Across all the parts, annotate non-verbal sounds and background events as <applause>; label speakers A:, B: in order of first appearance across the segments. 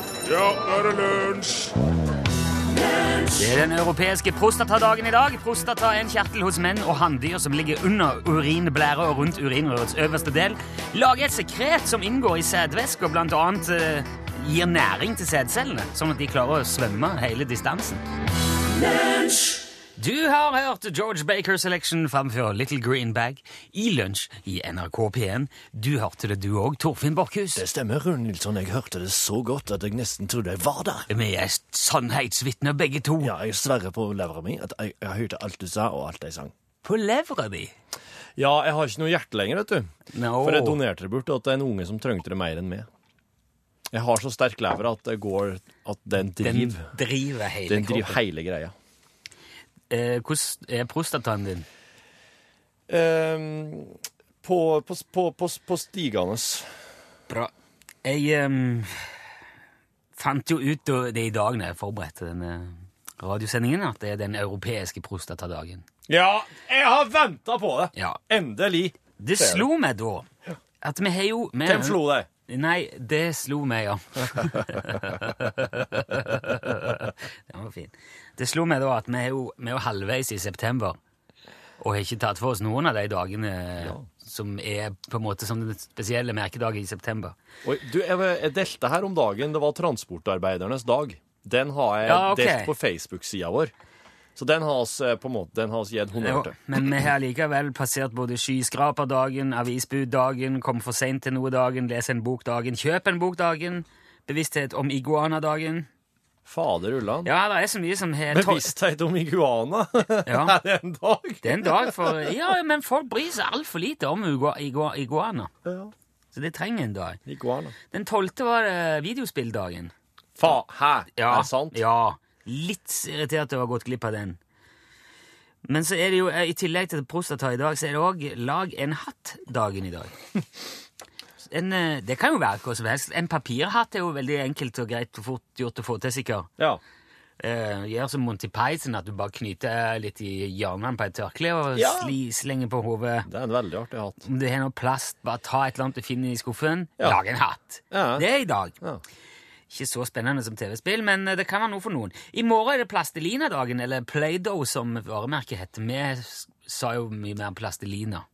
A: er det lunsj!
B: Det er den europeiske prostatadagen i dag. Prostata er en kjertel hos menn og hanndyr som ligger under urinblæra og rundt urinrørets øverste del. Lager et sekret som inngår i sædvæske og blant annet eh, gir næring til sædcellene, sånn at de klarer å svømme hele distansen. Du har hørt George Baker Selection framfor Little Green Bag i lunsj i NRK P1. Du hørte det, du òg, Torfinn Borchhus.
C: Det stemmer, Rune Nilsson. Jeg hørte det så godt at jeg nesten trodde jeg var der.
B: Vi er sannhetsvitner, begge to.
C: Ja, jeg sverrer på levra mi at jeg, jeg hørte alt du sa, og alt jeg sang.
B: På levra di.
C: Ja, jeg har ikke noe hjerte lenger, vet du.
B: No.
C: For jeg donerte det bort til en unge som trengte det mer enn meg. Jeg har så sterk lever at det går At den
B: Den
C: driver
B: driver hele
C: Den driver
B: kroppen.
C: hele greia.
B: Eh, hvordan er prostataen din?
C: Ehm, på, på, på, på, på stigende
B: Bra. Jeg ehm, fant jo ut da- det i dag når jeg forberedte denne radiosendingen, at det er den europeiske prostatadagen.
C: Ja, jeg har venta på det!
B: Ja.
C: Endelig.
B: Det
C: Ser
B: slo meg da at vi har jo vi-
C: Hvem slo deg?
B: Nei, det slo meg, ja. <laughs> Den var fin. Det slo meg da at vi er jo, vi er jo halvveis i september og har ikke tatt for oss noen av de dagene som er på en måte som den spesielle merkedagen i september.
C: Oi, du, jeg, jeg delte her om dagen. Det var transportarbeidernes dag. Den har jeg
B: Ja, ok.
C: delt på Facebook-sida vår. Så den har oss eh, på en måte, den har oss gitt honnør
B: Jo,
C: til.
B: men vi har likevel passert både skyskraperdagen, avisbuddagen, kom for seint til noe-dagen, les en bok-dagen, kjøp en bok-dagen, bevissthet om iguana-dagen.
C: Fader ullan.
B: Ja, det er så mye som har
C: Bevissthet om iguana.
B: Ja.
C: <laughs> er det en dag?
B: Det er en dag for Ja, men folk bryr seg altfor lite om igua, igua, iguana.
C: Ja.
B: Så det trenger en dag.
C: Iguana.
B: Den tolvte var det videospilldagen.
C: Fa, hæ? Er det sant?
B: Ja. Litt irritert over å ha gått glipp av den. Men så er det jo, eh, i tillegg til prostata i dag, så er det òg lag en hatt-dagen i dag. En, eh, det kan jo være hva som helst. En papirhatt er jo veldig enkelt og greit og fort gjort å få til, sikkert.
C: Ja.
B: Eh, gjør som Monty Python, at du bare knyter litt i hjørnene på et tørkle og
C: Ja.
B: sli, slenger på hodet.
C: Det er en veldig artig hatt.
B: Om du har noe plast, bare ta et eller annet du finner i skuffen.
C: Ja.
B: Lag en hatt.
C: Ja.
B: Det er i dag.
C: Ja.
B: Ikke så spennende som TV-spill, men eh, det kan være noe for noen. I morgen er det Plastelina-dagen, eller Play-Doh som varemerket heter. Vi s- sa jo mye mer Plastelina.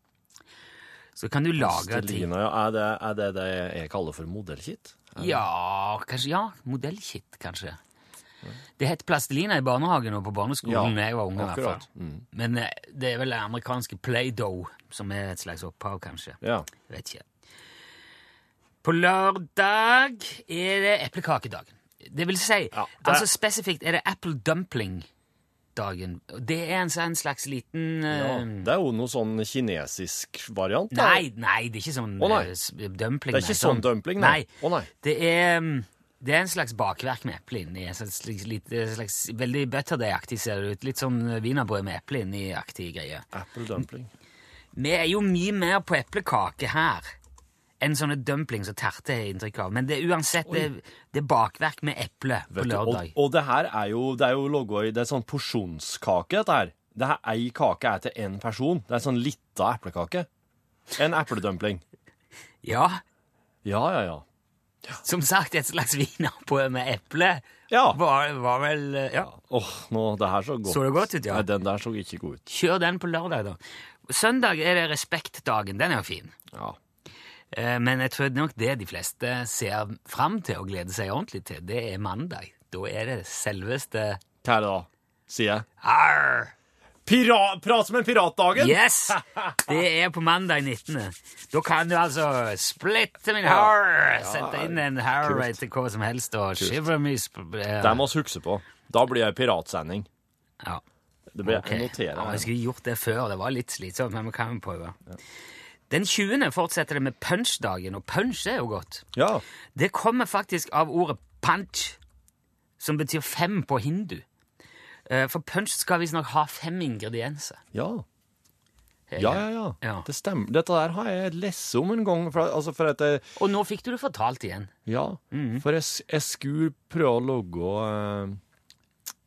B: Så kan du lage ting.
C: Stelina, ja. Er det, er det det jeg kaller for modellkit?
B: Ja, kanskje, ja, modellkit, kanskje. Det het plastelina i barnehagen og på barneskolen
C: Ja,
B: da jeg var unge. i hvert
C: akkurat. Mm.
B: fall. Men eh, det er vel det amerikanske Play-Doh som er et slags opphav, kanskje.
C: Ja.
B: Jeg vet ikke. På lørdag er det eplekakedagen. Det vil si,
C: det-
B: altså spesifikt er det apple dumpling-dagen. Og Det er en, sånn- en slags liten
C: ja.
B: eh,
C: Det er jo noe sånn kinesisk variant. da.
B: Nei, nei, det er ikke sånn
C: Å, nei.
B: eh, s- dumpling.
C: Det er
B: nei,
C: ikke sånn dumpling, nei. Å, nei.
B: Det er, mm, det er en slags bakverk med eple inni. En slags, litt, eh, slags, veldig butterdeig-aktig ser det ut. Litt sånn eh, wienerbrød med eple inni-aktig greie.
C: Apple dumpling.
B: Vi er jo mye mer på eplekake her enn sånne dumplings og terte har jeg inntrykk av. Men det er uansett det, det er bakverk med eple på
C: Vet du,
B: lørdag.
C: Og, og det her er jo, det er jo logoer, det er sånn porsjonskake, dette her. Det her ei kake er til én person. Det er sånn lita eplekake. En epledumpling.
B: Ja,
C: Ja, ja, ja.
B: som sagt, et slags wienerbrød med eple
C: Ja.
B: var, var vel eh, Ja.
C: Åh, nå, det her så godt
B: Så det godt ut, ja.
C: Nei, den der så ikke god ut.
B: Kjør den på lørdag, da. Søndag er det respektdagen. Den er jo fin.
C: Ja.
B: Eh, Men jeg tror nok det de fleste ser fram til og gleder seg ordentlig til, det er mandag. Da er det selveste
C: Hva er det da? Sier jeg.
B: Arr!
C: Pira prat som en piratdagen!
B: Yes! Det er på mandag 19. Da kan du altså splitte min hår, sette inn en hairrate til hva som helst og shiver me sp- eh,
C: Det må vi huske på. Da blir det piratsending.
B: ja.
C: Det blir
B: Ok.
C: jeg noterer
B: Ja,
C: jeg.
B: jeg skulle gjort det før. Det var litt slitsomt, men vi kan jo prøve. Den 20. fortsetter det med punchdagen, og punch er jo godt.
C: Ja.
B: Det kommer faktisk av ordet punch, som betyr fem på hindu. Eh, For punch skal visstnok ha fem ingredienser.
C: Ja. Ja, ja, ja.
B: Ja.
C: Det stemmer. Dette der har jeg lest om en gang. For, altså, for at jeg,
B: Og nå fikk du det fortalt igjen.
C: Ja,
B: Mhm.
C: for jeg, s- jeg skulle prøve å logge eh,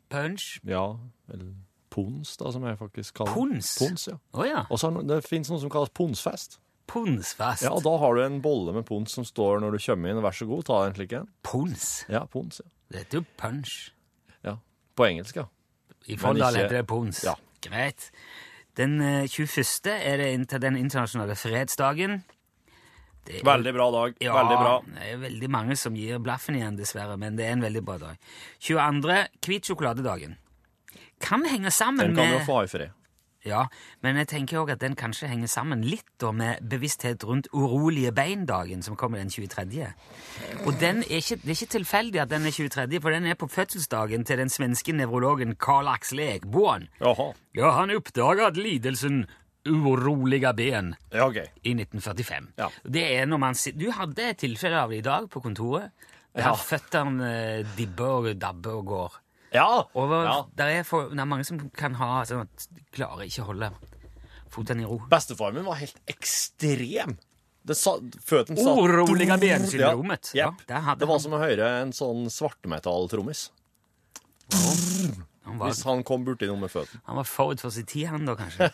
B: Punch.
C: Ja, eller pons, da, som jeg faktisk kaller det.
B: Pons?
C: Pons, ja.
B: Å ja.
C: Og så har no- det fins noe som kalles ponsfest.
B: Pons fast.
C: Ja, og da har du en bolle med pons som står når du kommer inn. Vær så god, ta en slik en.
B: Pons?
C: Ja, pons, ja.
B: Det heter jo punch.
C: ja. På engelsk, ja.
B: I Folldal
C: ikke-
B: heter det Pons.
C: Ja.
B: Greit. Den eh, 21. er det inter- den internasjonale fredsdagen. Det er-
C: Veldig bra dag.
B: Ja,
C: Veldig bra.
B: det er veldig mange som gir blaffen igjen, dessverre, men det er en veldig bra dag. 22. hvit sjokoladedagen. Kan henge sammen
C: Den kan du
B: med
C: få ha i fred.
B: Ja, men jeg tenker òg at den kanskje henger sammen litt da med bevissthet rundt urolige bein-dagen som kommer den 23. Og den er ikke, det er ikke tilfeldig at den er 23., for den er på fødselsdagen til den svenske nevrologen Karl Axel Ekboen.
C: Jaha.
B: Ja, han oppdaga lidelsen uroliga ben
C: Ja, ok.
B: i 1945.
C: Ja.
B: Det er når man sit- Du hadde et tilfelle av det i dag på kontoret. Der
C: Ja.
B: føttene eh, dibber og dabber og går.
C: Ja!
B: Og
C: ja.
B: der, er for, der er mange som kan ha sånn at de klarer ikke å holde fotene i ro.
C: Bestefaren min var helt ekstrem. Det sa, føten sa
B: Oroliga bensyndromet.
C: Ja.
B: Ja,
C: Jepp.
B: der hadde
C: det var
B: han-
C: som å høre en sånn svartmetalltrommis.
B: Han
C: Hvis
B: var,
C: han kom borti noe med føten.
B: han var forut for sin tid, han da, kanskje.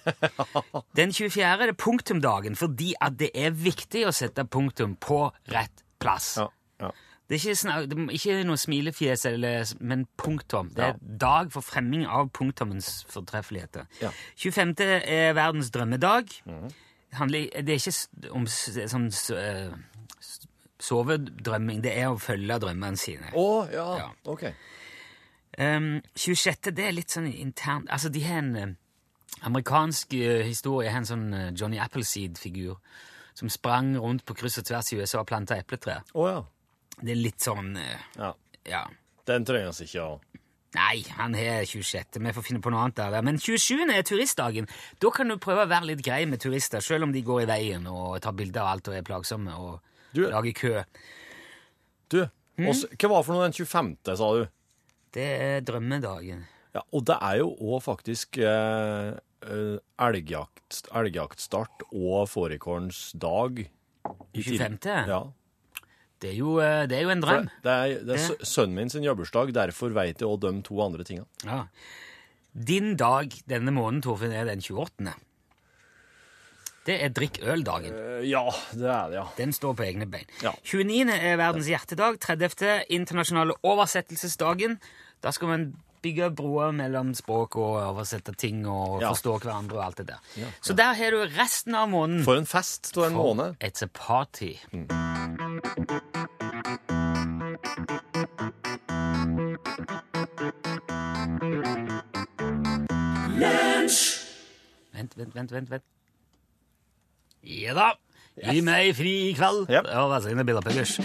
C: <laughs>
B: Den 24. er det punktumdagen, fordi at det er viktig å sette punktum på rett plass.
C: Ja. ja.
B: Det er ikke, snak, det må- ikke noe smilefjes, eller, s- men punktum. Det er
C: Ja.
B: dag for fremming av punktumens fortreffeligheter.
C: Ja. Mhm.
B: 25. er verdens drømmedag. Handler, det er ikke s- om s- sånn s- eh, s- sovedrømming, det er å følge drømmene sine.
C: Å, ja.
B: Ja.
C: Ok.
B: Um, 26. det er litt sånn intern... Altså, de har en eh, amerikansk eh, historie, har en sånn eh, Johnny Appleseed-figur som sprang rundt på kryss og tvers i USA og planta epletrær.
C: Å ja.
B: Det er litt sånn eh,
C: ja.
B: Ja.
C: Den trengs ikke å
B: Nei, han har 26. Vi får finne på noe annet der. da. Men 27. er turistdagen. Da kan du prøve å være litt grei med turister, selv om de går i veien og tar bilder av alt og er plagsomme og
C: Du-
B: lager kø.
C: Du, også, hva var for noe den 25., sa du?
B: Mm. Det er drømmedagen.
C: Ja, Og det er jo òg faktisk eh, eh, elgjakt, elgjaktstart og fårikålens dag. i til-
B: 25.?
C: Ja.
B: Det er jo, eh, det er jo en
C: For
B: drøm.
C: det, det er, det er
B: Det-
C: sø- sønnen min sin jobbursdag, derfor veit jeg òg de to andre tinga.
B: Ja. Din dag denne måneden, Torfinn, er den 28. Det er drikk øl-dagen.
C: Eh, ja, det er det, ja.
B: Den står på egne bein.
C: Ja.
B: 29. er verdens hjertedag. 30. internasjonale oversettelsesdagen. Da skal man bygge broer mellom språk og oversette ting og
C: Ja.
B: forstå hverandre og alt det der. Så der har du resten av måneden.
C: For en fest av en måned. Mm.
B: It's a party. Vent, vent, vent, vent, vent. Ja da! Gi meg fri i kveld.
C: Yep.
B: Det var Vazelina Billapuggers.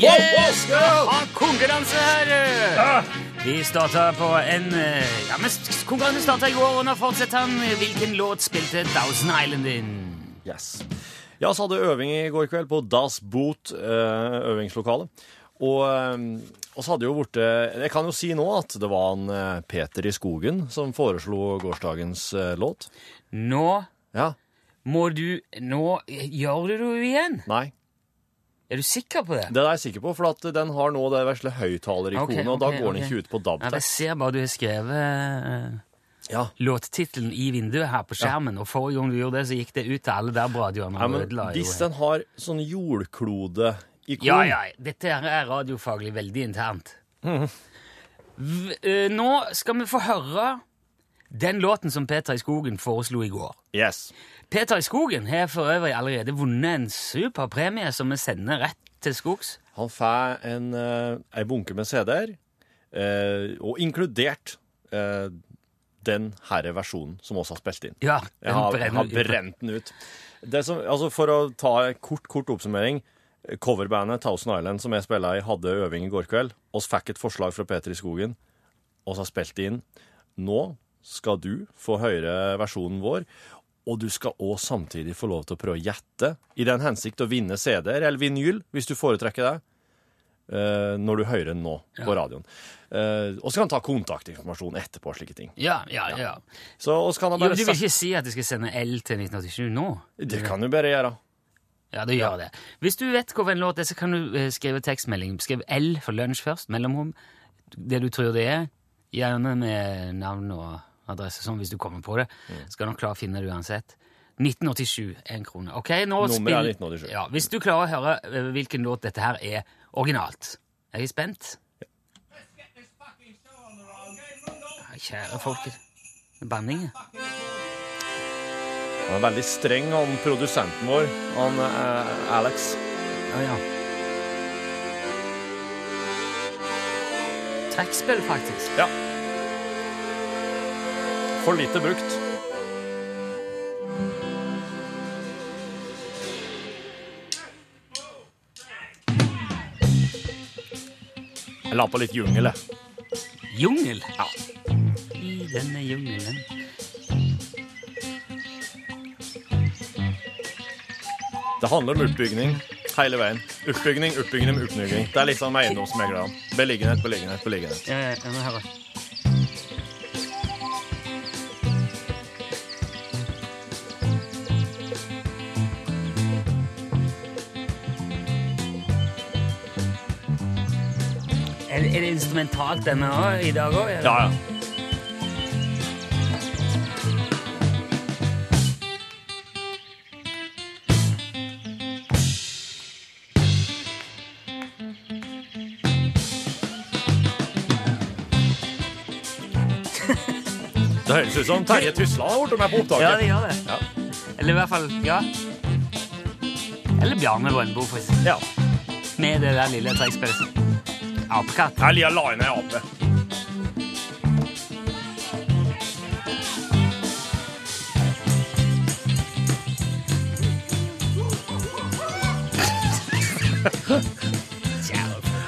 B: Yes!
C: Wow, wow,
B: Ha konkurranse her! Vi starta på en eh, Ja, men s- konkurransen starta i går, og nå fortsetter han. Hvilken låt spilte Thousand Island in?
C: Yes. Ja, så hadde jeg øving i går kveld på Das Boot eh, øvingslokale. Og, eh, og så hadde jo blitt Jeg kan jo si nå at det var en eh, Peter i skogen som foreslo gårsdagens eh, låt.
B: Nå
C: Ja.
B: må du Nå eh, gjør du det jo igjen!
C: Nei.
B: Er du sikker på det?
C: Det er jeg sikker på, for at den har nå det vesle høyttalerikonet,
B: Ok,
C: og da
B: ok,
C: går den
B: ok.
C: ikke ut på DAB.
B: Ja, jeg ser bare du har skrevet eh,
C: Ja.
B: låttittelen i vinduet her på skjermen, og forrige gang du gjorde det, så gikk det ut til alle DAB-radioene. og
C: Ja, men
B: ødela jo
C: hvis
B: helt.
C: den har sånn jordklode-ikon
B: ja, ja, dette her er radiofaglig veldig internt.
C: Mhm.
B: V, eh, nå skal vi få høre den låten som Peter i Skogen foreslo i går.
C: Yes.
B: Peter i Skogen har for øvrig allerede vunnet en super premie som vi sender rett til skogs.
C: Han får en, eh, ei bunke med CD-er, eh, og inkludert eh, den herre versjonen som også har spilt inn.
B: Ja,
C: Jeg
B: den
C: har, jeg
B: brenner
C: har
B: ut.
C: brent den ut. Det som, altså for å ta en kort, kort oppsummering. Coverbandet Thousand Island som jeg spilla i, hadde øving i går kveld. Vi fikk et forslag fra Peter i skogen, og så har spilt det inn. Nå skal du få høre versjonen vår, og du skal òg samtidig få lov til å prøve å gjette, i den hensikt å vinne CD-er eller vinyl, hvis du foretrekker det, eh, når du hører den nå på radioen. Eh, Og så kan han ta kontaktinformasjon etterpå og slike ting.
B: Ja, ja, ja.
C: Så, og så kan han
B: Jo,
C: bare
B: du vil
C: sa-
B: ikke si at du skal sende L til 1987 nå?
C: Det kan du bare gjøre.
B: Ja, du gjør det. Hvis du vet hvorfor en låt er, så kan du eh, skrive tekstmelding. Skriv L for lunsj først, mellomrom, det du tror det er.
C: Mm.
B: Gjerne med navn og adresse, sånn hvis du kommer på det. Skal nok klare å finne det uansett. 1987 én krone. Ok, nå
C: Nummeret er
B: spill-
C: 1987.
B: Ja, hvis du klarer å høre eh, hvilken låt dette her er originalt. Er vi spent? Nei, Kjære folket. Banning.
C: Han er veldig streng, han produsenten vår, han eh, Alex.
B: Ja, ja. Trekkspill, faktisk.
C: Ja. For lite brukt. Jeg la på litt jungel, jeg.
B: Jungel. Ja. I denne jungelen.
C: Det handler om oppbygning hele veien. Oppbygning, oppbygning, oppbygning. Det er litt sånn med eiendomsmeglerne. Beliggenhet, beliggenhet, beliggenhet.
B: Ja, ja, ja, nå hører jeg. Er det, er det instrumentalt denne også, i dag òg?
C: Ja, ja. Det høres ut som Terje Tysland har vært med på
B: ja,
C: opptaket.
B: det gjør det.
C: Ja.
B: Eller i hvert fall Ja. Eller Bjarne Brøndbo, for eksempel.
C: Ja.
B: Med det der lille trekkspillet. Apekatt.
C: Jeg liker å la inn ei ape.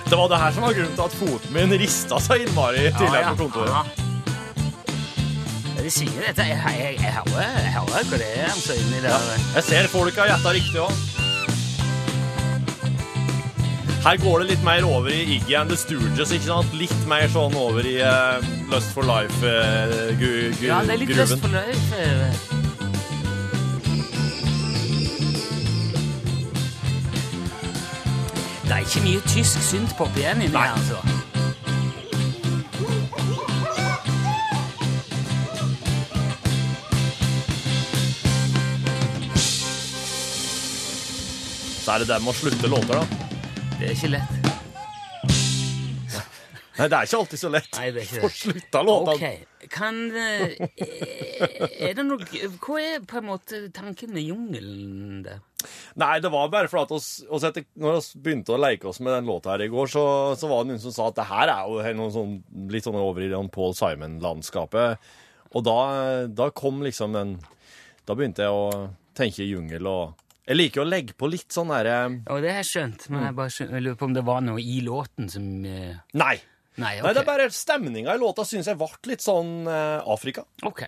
C: Det var det her som var grunnen til at foten min rista seg innmari tidligere på kontoret.
B: Ja. Ja, De synger dette. Jeg, jeg, jeg, jeg, hører, jeg hører hva det er altså. han synger inni der.
C: Jeg ser folk har gjetta riktig òg. Her går det litt mer over i Iggy and the Stooges. ikke sant? Litt mer sånn over i eh, Lust for eh, life-gruven.
B: Ja, det er litt lyst for løyf. Det er ikke mye tysk syntpop igjen inni
C: Nei.
B: her, altså.
C: Så er det det med å slutte låter, da.
B: Det er ikke lett.
C: Nei, det er ikke alltid så lett
B: Nei, det er ikke
C: å
B: det.
C: slutte låtene.
B: Ok, kan eh, Er det noe Hva er på en måte tanken med jungelen der?
C: Nei, det var bare fordi at oss, oss etter, når vi begynte å leke oss med den låta her i går, så, så var det noen som sa at det her er jo helt noen sånn, litt sånn over i den Paul Simon-landskapet. Og da, da kom liksom den Da begynte jeg å tenke jungel og Jeg liker jo å legge på litt sånn derre
B: Og det har jeg skjønt, men jeg bare skjønner, jeg lurer på om det var noe i låten som eh,
C: Nei!
B: Nei, ok.
C: Nei, det er bare stemninga i låta syns jeg ble litt sånn eh, Afrika.
B: Ok.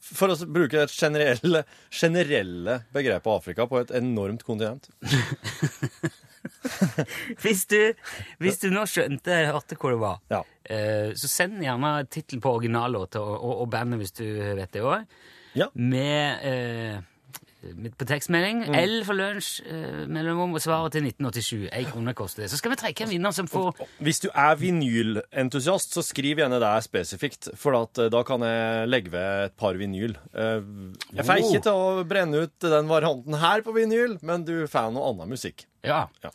C: For å bruke det generelle, generelle begrepet Afrika på et enormt kontinent.
B: <laughs> Hvis du, hvis du nå skjønte hørte hvor det var,
C: Ja.
B: eh, så send gjerne tittel på originallåta og, og, og bandet hvis du vet det òg,
C: Ja.
B: med eh, med- på tekstmelding.
C: Mm.
B: L for lunsj eh, mellomrom og svaret til 1987. Ei krone koster det. Så skal vi trekke en vinner som får
C: Hvis du er vinylentusiast, så skriv gjerne det spesifikt, for at, eh, da kan jeg legge ved et par vinyl. Eh, Jeg får
B: Oh.
C: ikke til å brenne ut den varianten her på vinyl, men du får noe annen musikk.
B: Ja.
C: Ja.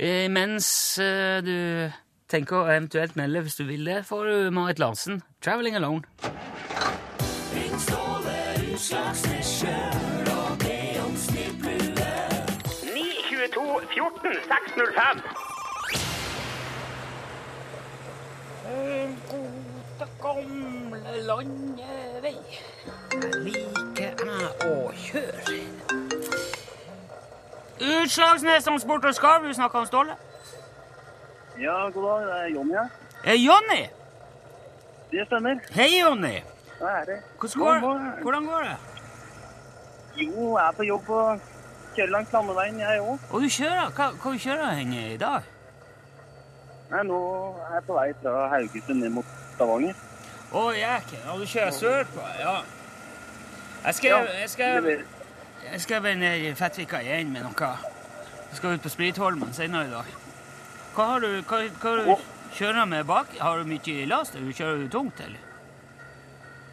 B: Eh, mens eh, du tenker å eventuelt melde hvis du vil det, får du Marit Larsen, 'Traveling Alone'.
D: gode, gamle landevei.
B: Liker jeg å kjøre. Utslagsnes Transport og Skarv, du snakker om Ståle.
E: Ja, god dag. Det er Jonny her.
B: Eh, Jonny!
E: Det stemmer.
B: Hei, Jonny!
E: Hva er det?
B: Hvordan går, hvordan går det?
E: Jo, jeg er på jobb og kjører langs landeveien, jeg òg.
B: Og du kjører? Hva, hva du kjører du hen i dag?
E: Nå er jeg på vei fra Haugesund ned mot Stavanger.
B: Å, jeg Og du kjører sørpå? Ja. Jeg skal, jeg skal,
E: Leverer-
B: jeg skal være ned i Fettvika igjen med noe. Jeg skal ut på Spritholmen senere i dag. Hva har du, hva, hva har
E: Å.
B: du kjører med bak? Har du mye last? eller Kjører du tungt, eller?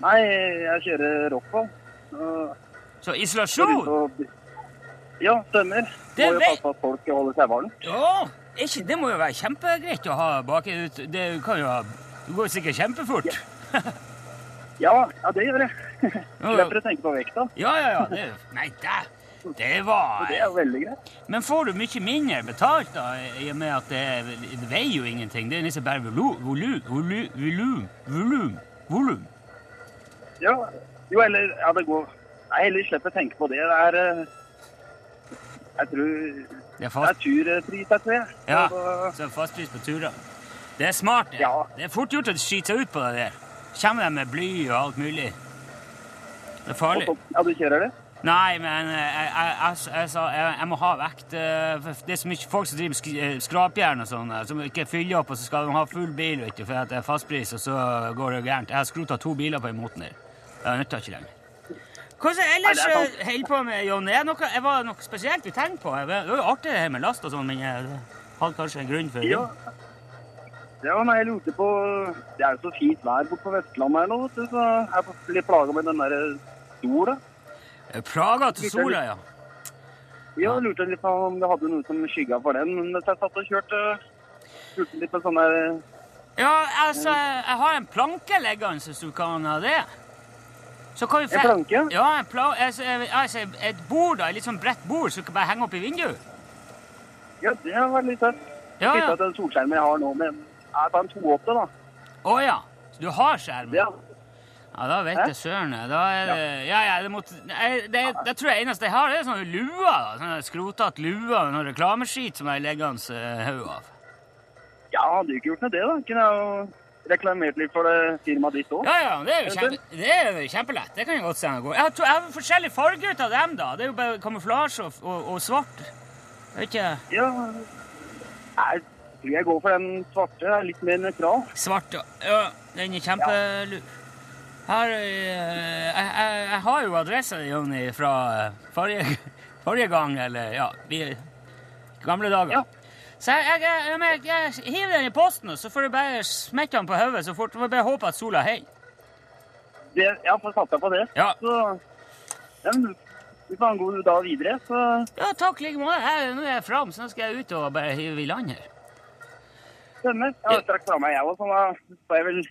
E: Nei, jeg kjører Rockwool. Og
B: Så
E: Går ut
B: isolasjon!
E: og- Ja, stemmer.
B: Det
E: Må jo
B: vet-
E: passe på at folk holder seg varme.
B: Ja, er ikke, det må jo være kjempegreit å ha baki ut. Det kan jo ha Det går jo sikkert kjempefort.
E: Ja, ja, det gjør jeg.
B: Ja, ja.
E: Slipper å tenke på vekta.
B: Ja, ja, ja.
E: <laughs>
B: Det, nei, det, det var
E: Det er jo veldig greit.
B: Men får du mye mindre betalt, da, i og med at det, er- det veier jo ingenting? Det er liksom bare volu- volu- volu- volum Volum. Volum.
E: Ja, jo, eller Ja, det går Nei, heller slipper å tenke på det. Det er eh, Jeg tror
B: Det er
E: Det
B: fast,
E: er turpris, jeg tror jeg.
B: ja,
E: Og da-
B: så er det fastpris på turer. Det er smart. Det,
E: Ja.
B: det er fort gjort å skyte seg ut på det der. Kommer de med bly og alt mulig? Det er
E: og
B: farlig.
E: så- Ja, du kjører det?
B: Nei, men eh, jeg, jeg, jeg, jeg, sa- jeg, jeg må ha vekt. eh, for Det er så mye folk som driver med sk eh, skrapjern og sånn, eh, som ikke fyller opp, og så skal de ha full bil, vet du, for at det er fastpris, og så går det gærent. Jeg har skrota to biler på den måten der. Jeg nytter ikke lenger. Hvordan ellers
E: Nei, det er sant.
B: eh, holder på med, Jonny? Er det noe, er det noe spesielt du tenker på? Det er jo artig det her med last og sånn, men jeg hadde kanskje en grunn for det.
E: Ja. Ja, nei, jeg lurte på Det er jo så fint vær borte på Vestlandet her nå, vet du, så jeg er litt plaga med den derre sola.
B: Plaga Eh, til sola, ja.
E: Ja, jeg lurte litt på om det hadde noe som skygga for den mens jeg satt og kjørte. Lurte litt på sånn der
B: Ja, altså, jeg har en planke liggende, hvis du kan ha det. Så kan vi fe-
E: En planke?
B: Ja, en pla altså, altså, et bord, da. Et litt sånn bredt bord som du kan bare henge opp i vinduet.
E: Ja, det har vært litt tøft.
B: Ja,
E: Litt
B: ja.
E: at den solskjermen jeg har nå, men jeg tar en 280, da.
B: Å ja. Så du har skjerm?
E: Ja.
B: Ja, da vet
E: Hæ?
B: jeg søren. jeg. Da er det Ja, ja, det måtte Nei, det, det tror jeg eneste jeg har, det er sånne luer. da. Sånne skrotete luer med noe reklameskit som jeg legger hans eh, haug av.
E: ja, hadde jo ikke gjort noe det, da. Kunne jeg jo reklamert litt for det firmaet ditt òg.
B: Ja, ja, det er jo kjempe, det er jo kjempelett. Det kan jeg godt se. Jeg, jeg, har to, jeg har forskjellige farger ut av dem, da. Det er jo bare kamuflasje og, og, og svart. Jeg Vet ikke
E: Ja. Jeg tror jeg går for den svarte. Jeg er litt mer nøytral.
B: Svart, ja. ja. Den er kjempelur. Her, eh, jeg, jeg, jeg har jo adressa, Jonny, fra eh, forrige, <laughs> forrige gang, eller ja, vi, gamle dager.
E: Ja.
B: Så jeg, jeg, jeg, jeg, men jeg, jeg hiver den i posten, og så får du bare smette den på hodet så fort. Du får bare håpe at sola heier.
E: Det, ja, for satser jeg på det.
B: Ja.
E: Så ja, men vi får ha en god dag videre. Så
B: Ja, takk like måte. Jeg- Nå er jeg fram, så nå skal jeg ut og bare hive i land her.
E: stemmer. Jeg har straks fra meg, jeg òg, så da får jeg vel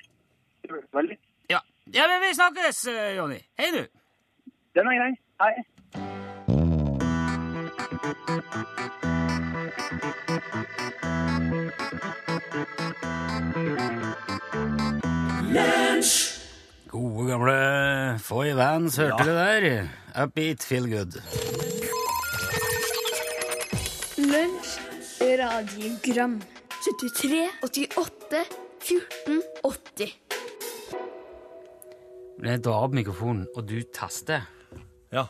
E: føle meg litt.
B: Ja, ja men vi snakkes, eh, Jonny. Hei, du.
E: Den er grei. Hei.
B: Gode, gamle Foy Vans, hørte du der? Upbeat, feel good.
D: Lunsj, radiogram 73, 88, 14, 80
B: Når jeg drar opp mikrofonen, og du taster,
F: Ja.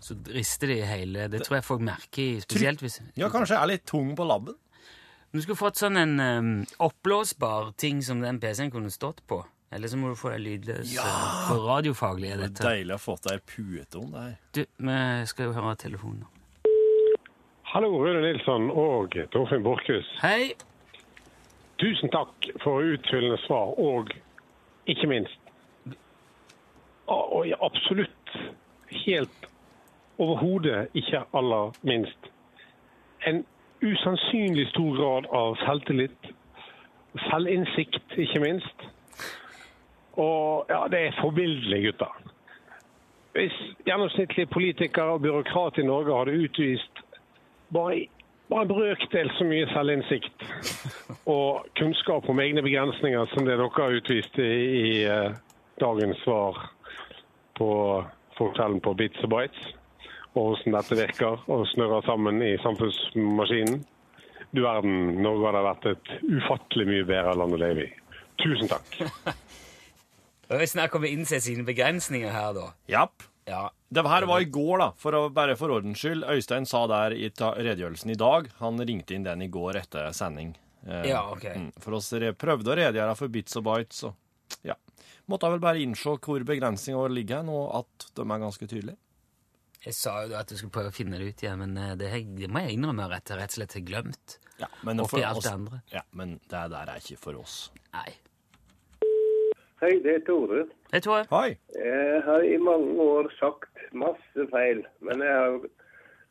B: så rister det i hele Det tror jeg folk merker, i- spesielt hvis
F: ja, kanskje jeg er litt tung på labben.
B: Du skulle fått sånn en em, oppblåsbar ting som den PC-en kunne stått på. Eller så må du få deg lydløs. eh, For radiofaglig er dette
C: Deilig å ha fått ei pute om det her.
B: Du, vi skal jo høre telefonen nå.
G: Hallo, Rune Nilsson og Torfinn Borchhus.
B: Hei!
G: Tusen takk for utfyllende svar, og ikke minst Og og ja, absolutt helt overhodet ikke aller minst en usannsynlig stor grad av selvtillit, selvinnsikt, ikke minst. Og ja, det er forbilledlig, gutter. Hvis gjennomsnittlige politikere og byråkrater i Norge hadde utvist bare, bare en brøkdel så mye selvinnsikt og kunnskap om egne begrensninger som det dere har utvist i, i eh, dagens svar på forskjellen på bits og bites, og hvordan dette virker og snurrer sammen i samfunnsmaskinen. Du verden, Norge hadde vært et ufattelig mye bedre land å leve i. Tusen takk.
B: Det er snakk om å innse sine begrensninger her, da.
C: Japp.
B: Ja.
C: Det her var i går, da, for å, bare for ordens skyld. Øystein sa der i ta redegjørelsen i dag Han ringte inn den i går etter sending. Eh,
B: Ja, ok.
C: mm, For oss re prøvde å redegjøre for bits og bites, og ja. Måtte vel bare innse hvor begrensninga ligger hen, og at de er ganske tydelige.
B: Jeg sa jo da at du skulle prøve å finne det ut igjen, men eh, det, har- det må jeg innrømme at jeg rett og slett har glemt.
C: Ja, men
B: Oppi
C: for
B: alt
C: oss-
B: det andre.
C: Ja, men det der er ikke for oss.
B: Nei.
H: Hei, det er Tore.
B: Jeg tror jeg.
C: Hei!
H: Jeg har i mange år sagt masse feil. Men jeg har jo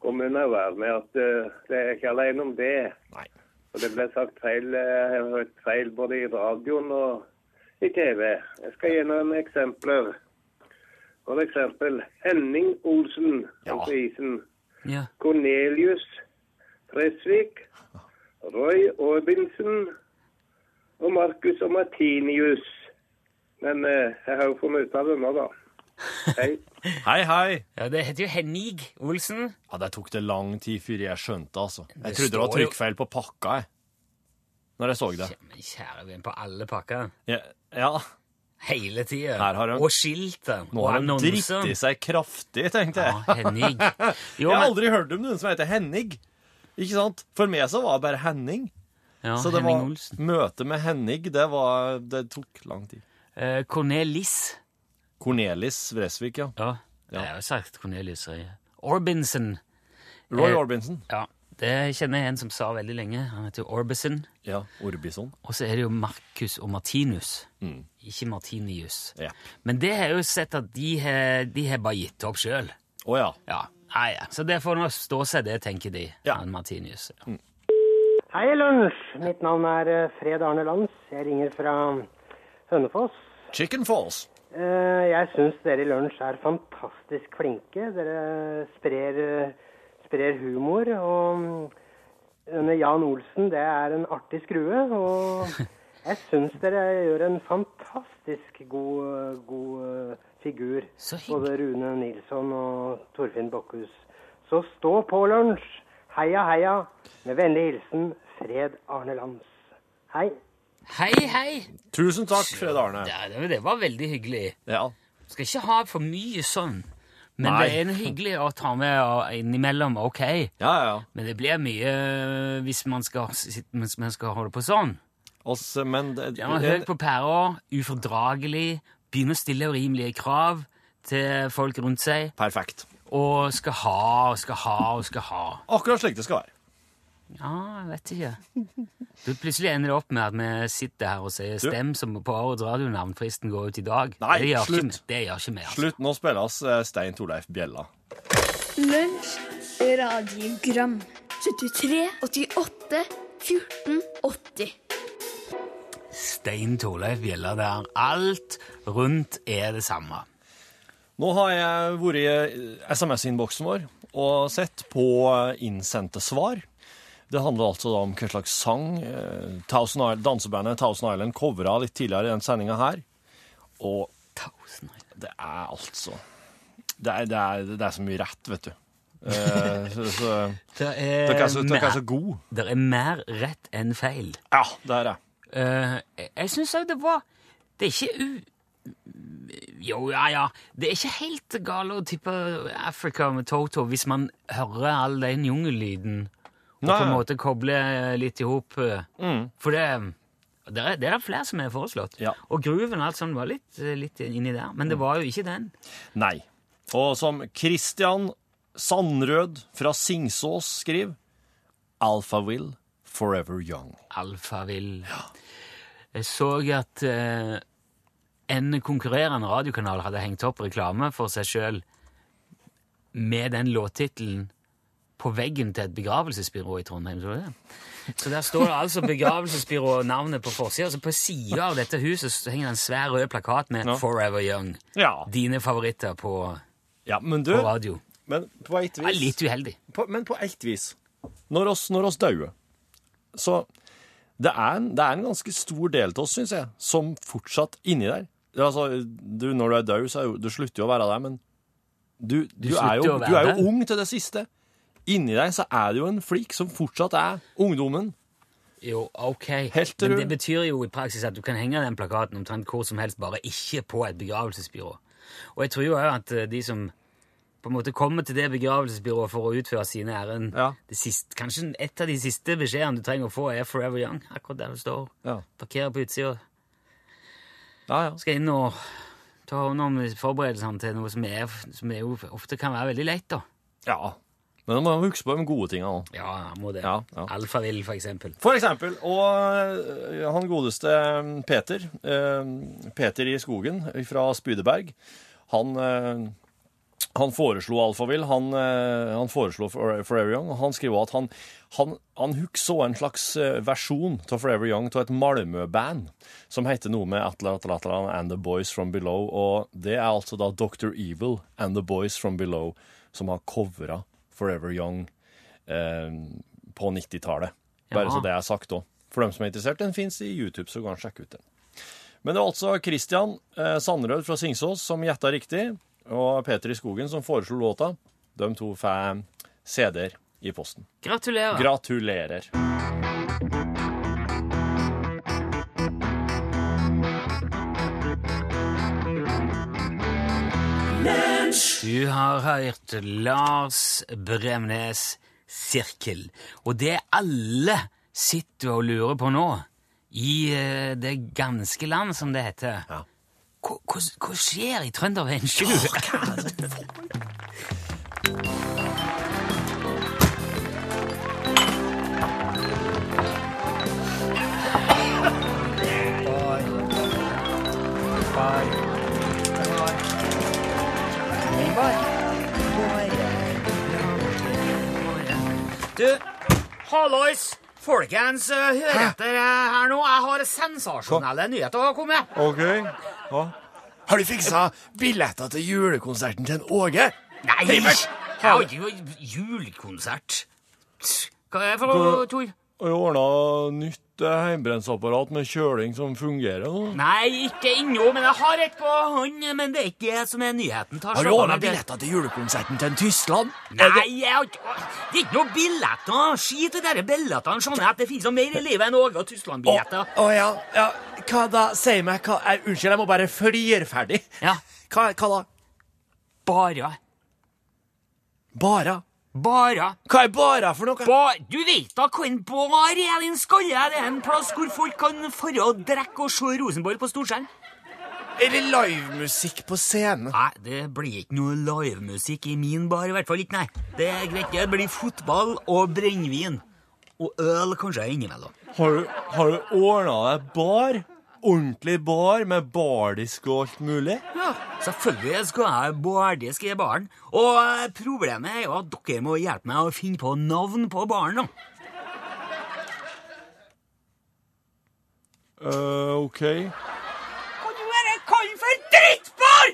H: kommet unna vel med at eh, det er ikke alene om det.
C: Nei.
H: Og det ble sagt feil, eh, jeg har hørt feil både i radioen og i TV. Jeg skal gi noen eksempler. For eksempel Henning Olsen, altså isen.
B: Ja.
H: Cornelius Fresvik, Roy Aabinsen og Marcus og Martinius. Men eh, jeg har jo funnet ut av det nå, da. Hei.
I: Hei, hei.
B: ja, det heter jo Henning Olsen.
C: Ja, Det tok det lang tid før jeg skjønte, altså. Jeg
B: Det
C: trodde det var
B: står jo-
C: trykkfeil på pakka, jeg. Når jeg så det.
B: Men kjære venn, på alle pakker.
C: Ja, ja.
B: Hele tida.
C: Her har han-
B: Og skiltet.
C: Nå
B: og
C: har de
B: annonser.
C: dritt i seg kraftig, tenkte jeg.
B: Ja,
C: <laughs>
B: Henning. Jo,
C: Jeg har
B: men-
C: aldri hørt om noen som heter Henning. Ikke sant? For meg så var det bare Henning.
B: Ja,
C: Så det
B: Henning
C: var
B: Olsen.
C: møtet med Henning, det var Det tok lang tid.
B: Eh, Cornelis.
C: Cornelis Vresvik, ja.
B: Ja, jeg har jo sagt Cornelis. jeg. Orbinson.
C: Roy
B: Eh,
C: Orbison.
B: Ja, det kjenner jeg en som sa veldig lenge. Han heter jo Orbison.
C: Ja, Orbison. Mm.
B: Og så er det jo Marcus og Martinus. Ikke Martinius.
C: Ja.
B: Men det har jeg jo sett at de har, de har bare gitt opp sjøl.
C: Å ja.
B: Ja. Nei, ja. Så det får nå stå seg, det, tenker de.
C: Ja. Mm.
B: Han Martinius. Ja.
J: Hei, Lunsj! Mitt navn er eh, Fred Arne Lands. Jeg ringer fra Hønefoss.
C: Chicken Falls.
J: Eh, Jeg syns dere i Lunsj er fantastisk flinke. Dere sprer, eh, sprer humor. Og mm, denne Jan Olsen, det er en artig skrue. Og jeg syns dere gjør en fantastisk god, god eh, figur.
B: Så hyggelig.
J: Både Rune Nilsson og Torfinn Bokkhus. Så stå på, Lunsj! Heia, heia! Med vennlig hilsen Fred Arne Lands. Hei.
B: Hei, hei!
C: Tusen takk, Fred Arne.
B: Ja, det, det var veldig hyggelig.
C: Ja.
B: Skal ikke ha for mye sånn. Men
C: Nei.
B: det er en hyggelig å ta med og innimellom. Ok.
C: Ja, ja.
B: Men det blir mye eh, hvis man skal, sitte- mens man skal holde på sånn.
C: Oss, men det,
B: Ja, man
C: en-
B: Høyt på pæra, ufordragelig, begynner å stille urimelige krav til folk rundt seg,
C: Perfekt.
B: og skal ha og skal ha og skal ha.
C: Akkurat slik det skal være.
B: Ja, jeg vet ikke. Du plutselig ender det opp med at vi sitter her og sier stem som på årets radionavn. Fristen går ut i dag.
C: Nei,
B: det gjør
C: slutt.
B: Ikke, det gjør ikke vi. Altså.
C: Slutt, nå spilles eh, Stein Torleif Bjella.
D: Lunsj radiogram 73 88 14 80
B: Stein Torleif gjelder der. Alt rundt er det samme.
C: Nå har jeg vært i eh, SMS-innboksen vår og sett på eh, innsendte svar. Det handler altså da om hva slags sang eh, Thousand Island, dansebandet Thousand Island covra litt tidligere i den sendinga her. Og
B: Tusen takk.
C: det er altså Det er, det er, det er så mye rett, vet du. Eh, så, så,
B: Det er,
C: dere er så, dere er
B: mer,
C: så gode.
B: det er mer rett enn feil.
C: Ja, det er det.
B: Eh, jeg- jeg syns òg det var Det er ikke u... Jo, ja, ja. Det er ikke helt galt å tippe Africa med Toto hvis man hører all den jungellyden og på en
C: Nei. Mm.
B: måte kobler litt i hop. For det, det, er, det er det flere som er foreslått.
C: Ja. Mm.
B: Og grooven og alt sånt var litt, litt inni der, men det var jo ikke den.
C: Nei. Og som Christian Sandrød fra Singsås skriver Alpha Will Forever Young.
B: Alfavill. Jeg så at eh, en konkurrerende radiokanal hadde hengt opp reklame for seg sjøl med den låttittelen på veggen til et begravelsesbyrå i Trondheim. Så, du det? så der står det altså begravelsesbyrå navnet på forsida, og på sida av dette huset så henger det en svær rød plakat med
C: Ja.
B: 'Forever Young'.
C: Ja.
B: Dine favoritter på,
C: ja men du,
B: på radio.
C: men på et
B: Det
C: vis
B: er litt uheldig.
C: på, Men på ett vis. Når oss, når oss dauer, så det er, en, det er en ganske stor del til oss, syns jeg, som fortsatt inni der Ja, Altså, du, når du er død, så er jo, du slutter jo å være der, men du, du, er,
B: slutter
C: jo,
B: å være
C: du er
B: der.
C: jo ung til det siste. Inni deg så er det jo en flik som fortsatt er ungdommen.
B: Jo, ok.
C: Helt til
B: Men
C: du-
B: det betyr jo i praksis at du kan henge den plakaten omtrent hvor som helst, bare ikke på et begravelsesbyrå. Og jeg tror jo også at eh, de som på en måte kommer til det begravelsesbyrået for å utføre sine ærend
C: Ja.
B: det siste- Kanskje et av de siste beskjedene du trenger å få, er 'Forever Young'. Akkurat der du står.
C: Ja.
B: Parkerer på utsida.
C: Ja, ja.
B: Skal inn og ta hånd om forberedelsene til noe som, er, som er jo ofte kan være veldig leit, da.
C: Ja. Men da må man huske på de gode tingene òg.
B: Ja, må det.
C: Ja, ja.
B: Alfavill, for eksempel.
C: For eksempel, og øh, han godeste øh, Peter, eh, øh, Peter i skogen fra Spydeberg, han øh, Han foreslo Alphaville, han, eh, han foreslo For- Forever Young, og han skriver at han, han, han hukså en slags eh, versjon av Forever Young av et Malmö-band som heter noe med Atla Atla Atla and The Boys From Below, og det er altså da Dr. Evil and The Boys From Below som har covra Forever Young eh, på 90-tallet. Bare
B: Ja.
C: så det er sagt òg. For dem som er interessert, den fins i YouTube, så gå og sjekk ut den. Men det var altså Christian eh, Sandrød fra Singsås som gjetta riktig, og Peter i Skogen som foreslo låta. De to får CD-er i posten.
B: Gratulerer.
C: Gratulerer.
B: Du har hørt Lars Bremnes Sirkel. Og det alle sitter og lurer på nå, i eh, det ganske land, som det heter Hva, hva, hva skjer i Trønderveien 7? Du, hallois! Folkens, eh, hør etter eh, her nå. Jeg har sensasjonelle nyheter å komme med.
K: OK. Ja. Har du fiksa billetter til julekonserten til en Åge?
B: Nei! Jeg har jo julekonsert. Hva er det for noe, Tor?
C: Og jeg ordna nytt eh, hjemmebrentsapparat med kjøling som fungerer. nå.
B: Nei, ikke ennå, men jeg har et på hånd. Men det er ikke det som er nyheten. Ta
K: Har du
B: slapp av
K: ordna
B: med det.
K: billetter til julekonserten til en Tyskland?
B: Nei, jeg har ikke Det er ikke noen billetter. Skit i de der billettene. Skjønner jeg at det finnes noe mer i livet enn Åge og
K: Å
B: Tyskland-billetter.
K: å ja. ja. Hva da? Si meg hva eh, Unnskyld, jeg må bare flire ferdig.
B: Ja,
K: Hva, hva da?
B: bare.
K: Bara?
B: Bare.
K: Hva er bara for noe?
B: Bar. Du vet da hvor en bar er, din skalle. Det er en plass hvor folk kan fare og drikke og se Rosenborg på storskjerm.
K: Er det livemusikk på scenen?
B: Nei, det blir ikke noe livemusikk i min bar, i hvert fall ikke, nei. Det er greit, det blir fotball og brennevin. Og øl kanskje innimellom.
C: Har du, har du ordna deg bar? Ordentlig bar med bardisk og alt mulig?
B: Ja, selvfølgelig skal jeg ha bardisk i baren. Og eh, problemet er jo at dere må hjelpe meg å finne på navn på baren, da.
C: eh, OK.
B: Hva du er det kall for drittbar?!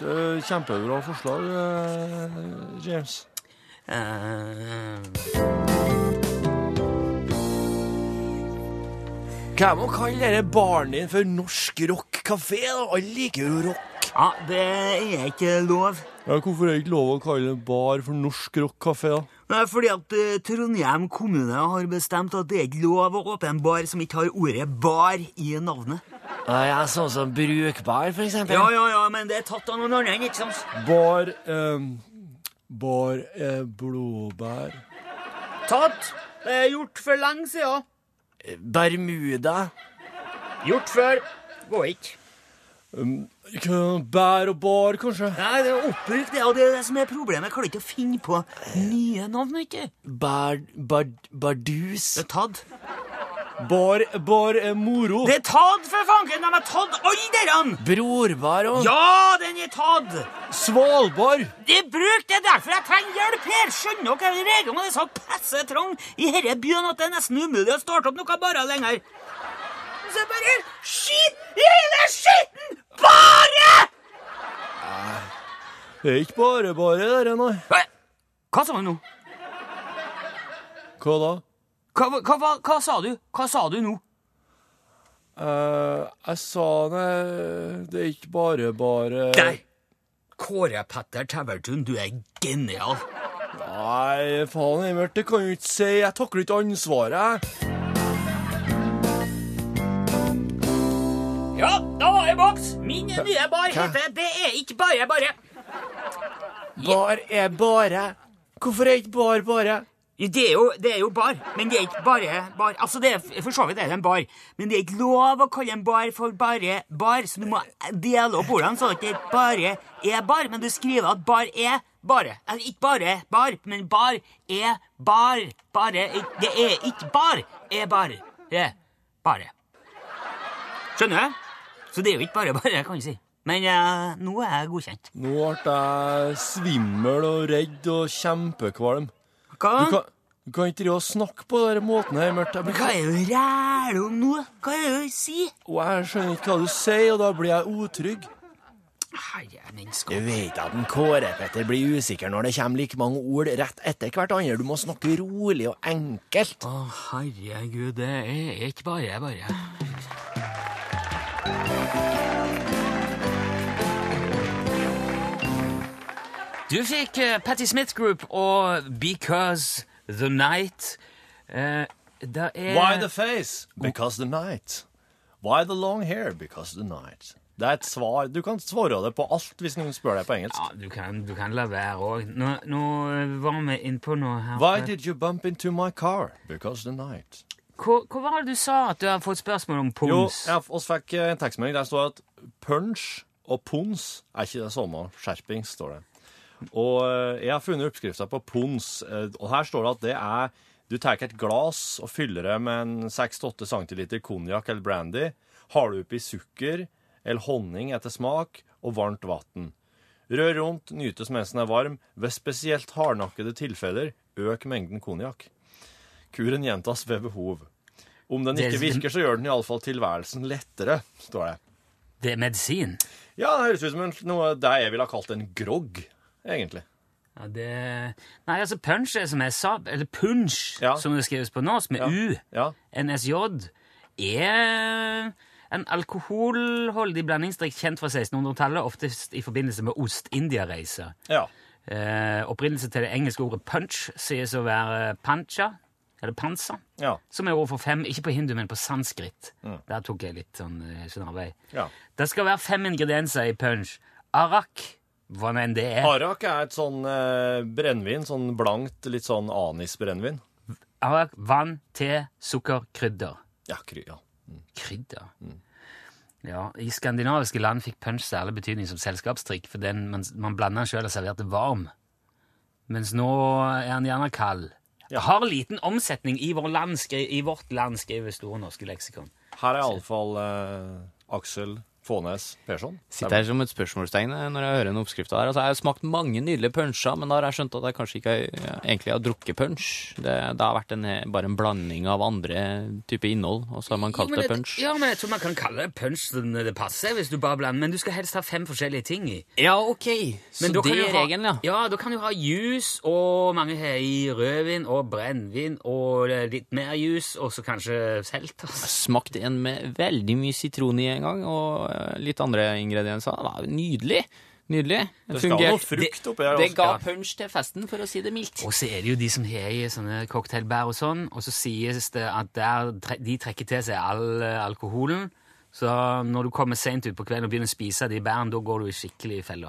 C: Det er Kjempebra forslag, eh, James.
B: Eh,
K: Hva må kalle dere baren din for norsk rockkafé? da? Alle liker jo rock.
B: ja, det er ikke lov.
C: Ja, hvorfor er det ikke lov å kalle en bar for norsk rockkafé, da?
B: Det er fordi at eh, Trondheim kommune har bestemt at det er ikke lov å åpne en bar som ikke har ordet bar i navnet.
K: Ah, ja, sånn som brukbar, for eksempel.
B: Ja, ja, ja, men det er tatt av noen andre, ikke sant?
C: Bar ehm, Bar eh, blåbær
B: Tatt! Det er gjort for lenge siden.
K: Bermuda.
B: Gjort før. Går ikke.
C: Um, Bær og bar, kanskje?
B: Nei, det er oppbrukt, det, og det er det som er problemet. Jeg klarer ikke å finne på nye navn, ikke?
K: Bard, bard, bardus.
B: Det er tatt.
C: Bar, bar er moro.
B: Det er tatt, for fanken! De har tatt alle derne!
K: Brorbar og
B: Ja, den er tatt!
C: Svalbard!
B: Det er brukt, det er derfor jeg trenger hjelp her! Skjønner dere reglene er så passe trang i denne byen at det er nesten umulig å starte opp noe bare lenger. Så bare skit i hele skitten! Bare!
C: Det er ikke bare bare der, nei.
B: Hva, hva sa du nå?
C: Hva da?
B: Hva, hva, hva, hva sa du? Hva sa du nå?
C: Eh, jeg sa nei, det er ikke bare bare
B: Nei. Kåre Petter Tævertun, du er genial.
C: Nei, faen, Emert, det kan du ikke si. Jeg takler ikke ansvaret. jeg.
B: Ja, da var det boks. Min nye bar heter Det er ikke bare bare.
K: Bar er bare. Hvorfor er ikke bar bare?
B: Det er, jo, det er jo bar, men det er ikke bare bar. Altså, det er, For så vidt er det en bar, men det er ikke lov å kalle en bar for bare bar, så du må dele opp ordene sånn at det ikke bare er bar, men du skriver at bar er bare. Altså, ikke bare bar, men bar er bar. Bare Det er ikke bar, er bar. Det er bare. Skjønner du? Så det er jo ikke bare bare, kan du si. Men eh, nå er jeg godkjent.
C: Nå ble jeg svimmel og redd og kjempekvalm.
B: Hva?
C: Du kan, du kan ikke drive og snakke på denne måten her, Mørkt. Jeg blir-
B: Hva er det du ræler om nå? Hva er det du sier?
C: Og jeg skjønner ikke hva du sier, og da blir jeg utrygg.
B: Herre min
L: Du
B: skam.
L: vet at en Kåre-Petter blir usikker når det kommer like mange ord rett etter hverandre. Du må snakke rolig og enkelt.
B: Å, herregud, det er ikke bare bare. Du fikk eh, Patti Smith Group og Because the Night. Eh, det er
C: Why the face? Because the night. Why the long hair? Because the night. Det er et svar. Du kan svare det på alt hvis noen spør deg på engelsk.
B: Ja, du kan, du kan la være òg. Nå, nå var vi innpå noe her.
C: Why did you bump into my car? Because the night.
B: Hva, hva var det du sa at du har fått spørsmål om
C: Jo,
B: pons?
C: jeg f- oss fikk eh, en tekstmelding der det står at punch og pons er ikke det samme. Skjerpings, står det. Og eh, jeg har funnet oppskrifta på pons, eh, og her står det at det er Du tar et glass og fyller det med en 6-8 cm konjakk eller brandy, har du oppi sukker eller honning etter smak og varmt vann. Rør rundt, nytes mens den er varm. Ved spesielt hardnakkede tilfeller, øk mengden konjakk. Kuren gjentas ved behov. Om den
B: Det-
C: ikke virker, så gjør den iallfall tilværelsen lettere, står det.
B: Det er medisin.
C: Ja, det høres ut som en, noe det jeg ville ha kalt en grogg, egentlig.
B: Ja, det... Nei, altså punch er som jeg sa, eller punch,
C: Ja.
B: som det skrives på norsk, med
C: Ja.
B: U,
C: Ja.
B: NSJ, er en alkoholholdig blandingsdrikk kjent fra 1600-tallet, oftest i forbindelse med Ost-India-reiser.
C: Ja.
B: Eh, opprinnelse til det engelske ordet punch sies å være pancha, eller pansa,
C: Ja. Mm.
B: som er ord for fem, ikke på hindu, men på sanskrit. Der tok jeg litt sånn eh, snarvei.
C: ja.
B: Det skal være fem ingredienser i punch. Arak, hva nå enn det er.
C: Arak er et sånn eh, brennevin, sånn blankt, litt sånn anisbrennevin.
B: Arak, vann, te, sukker, krydder. Mm.
C: Ja, kry, ja.
B: Krydder? Ja, I skandinaviske land fikk punch særlig betydning som selskapstrikk, for den man, man blanda den sjøl og serverte varm. Mens nå er den gjerne kald. Har liten omsetning i, vår land, skri, i vårt land, skriver Store norske leksikon.
C: Her er iallfall eh, Aksel Fånes Persson.
A: Sitter her som et spørsmålstegn eh, når jeg hører den oppskrifta her. Altså, jeg har smakt mange nydelige punsjer, men da har jeg skjønt at jeg kanskje ikke ja, egentlig har drukket punch. Det, det har vært en, eh, bare en blanding av andre typer innhold, og så har man
B: Jo,
A: kalt
B: men
A: det
B: jeg-
A: punch.
B: Ja, men jeg tror man kan kalle det punch som det passer, hvis du bare blander. Men du skal helst ha fem forskjellige ting i.
A: Ja, OK. Så
B: Men da kan
A: det
B: du
A: er
B: ha-
A: regelen, ja.
B: Ja, da kan du ha juice, og mange har i rødvin og brennevin og eh, litt mer juice, og så kanskje altså. selters.
A: Smakt en med veldig mye sitron i en gang, og eh, litt andre ingredienser. Det var jo nydelig. Nydelig.
C: Det skal
A: Fungert.
C: noe frukt oppi her
A: Det
C: også.
A: ga
C: Ja.
A: punch til festen, for å si det mildt.
B: Og så er det jo de som har i sånne cocktailbær og sånn, og så sies det at der, tre- de trekker til seg all eh, alkoholen. Så når du kommer sent ut på kvelden og begynner å spise de bærene, da går du i skikkelig i fella.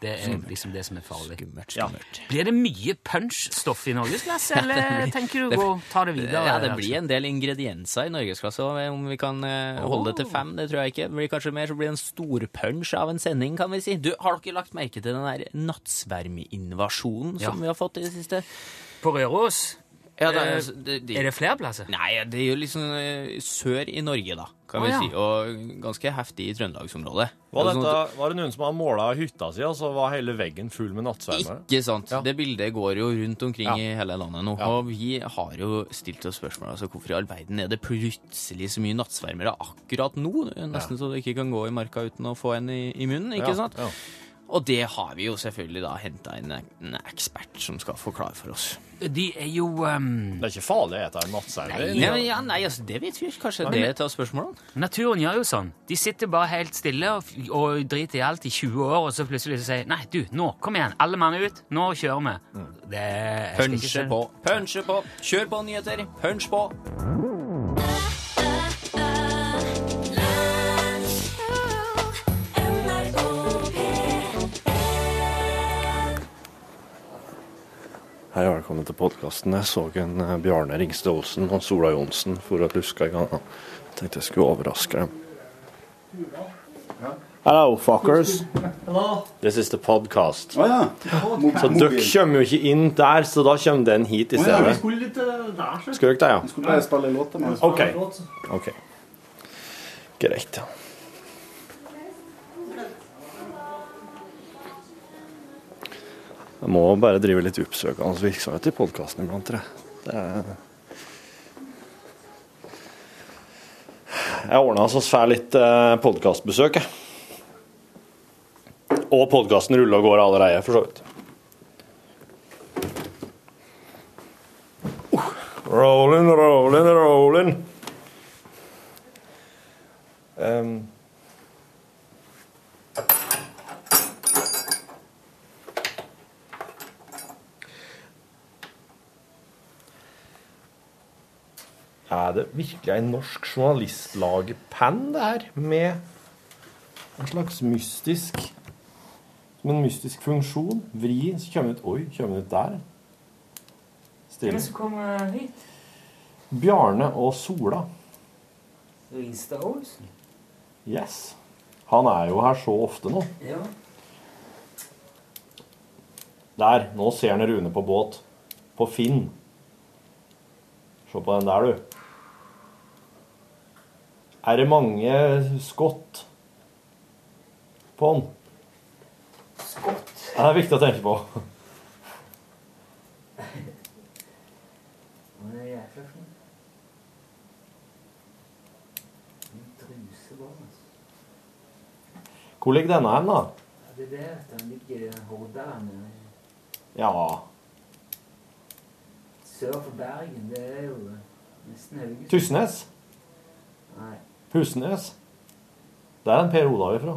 B: det er liksom det som er farlig.
A: Oh, Skummelt, skummelt.
B: Blir det mye punch-stoff i norgesklasse, eller tenker du
A: det-
B: å gå- ta det videre?
A: Ja, det
B: Aksel?
A: blir en del ingredienser i norgesklasse. og Om vi kan eh, holde det til fem, det tror jeg ikke. Det blir kanskje mer så blir det en storpunch av en sending, kan vi si. Du, Har dere lagt merke til den der nattsvermeinvasjonen
B: Ja.
A: som vi har fått i det siste?
B: På Røros? Eh,
A: Ja,
B: Er det flere plasser?
A: Nei, det er jo litt sånn eh, sør i Norge, da, kan
B: Å, ja.
A: vi si. Og ganske heftig i Trøndelagsområdet.
C: Var,
A: Det er sånn
C: dette,
A: at-
C: var det noen som hadde måla hytta si, og så var hele veggen full med nattsvermere?
A: Ikke sant.
C: Ja.
A: Det bildet går jo rundt omkring
C: Ja.
A: i hele landet nå.
C: Ja.
A: Og vi har jo stilt oss spørsmål altså hvorfor i all verden er det plutselig så mye nattsvermere akkurat nå? Nesten så du ikke kan gå i marka uten å få en i, i munnen, ikke
C: Ja,
A: sant?
C: ja.
A: Og det har vi jo selvfølgelig da henta inn en ekspert som skal forklare for oss.
B: De er jo ehm,
C: Det er ikke farlig å ete en nattsvermer.
A: Ja, men ja, nei, altså, det vet vi ikke. Kanskje det er et av spørsmålene?
B: Naturen gjør jo sånn. De sitter bare helt stille og, f- og driter i alt i 20 år, og så plutselig så sier Nei, du, nå, kom igjen, alle mann ut, nå kjører vi. Det jeg skal ikke
A: Mm. Punche
B: se-
A: på, punche på. Kjør på nyheter, punch på.
C: Hei og velkommen til podkasten. Jeg så en eh, Bjarne Ringstad Olsen og Sola Johnsen for at luska i gang. Jeg tenkte jeg skulle overraske dem. Hello, fuckers. This is the podcast. Så dere kommer jo ikke inn der, så da kommer den hit i stedet.
M: eh,
C: Skulle dere det, ja? Skulle bare spille en låt. OK. OK. Greit, ja.
N: Jeg må bare drive litt oppsøkende virksomhet i podkasten iblant. tror jeg. Det er... Jeg ordna så vi får litt eh, podkastbesøk, jeg. Og podkasten ruller og går allerede, for så vidt. Rolling, rolling, rolling. Um,
C: Er det virkelig en norsk journalistlag-penn, det her? Med en slags mystisk Som en mystisk funksjon. Vri, så kommer det ut Oi, kommer det ut der?
B: Hvem er det
C: Stille.
B: som kommer hit?
C: Bjarne og Sola.
B: Ringstad Olsen?
C: Yes. Han er jo her så ofte nå.
B: Ja.
C: Der. Nå ser han Rune på båt. På Finn. Se på den der, du. Er det mange skott på den? Skott? Det er viktig å tenke på.
B: Hvor er jeg fra? En truseball, altså.
C: Hvor ligger denne hen, da?
B: Ja, Det der, den ligger i Hordaland. eh,
C: Ja.
B: Sør for Bergen, det er jo eh, nesten Haugesund.
C: Tysnes?
B: Nei.
C: Husnes? Der er en Per Olav ifra.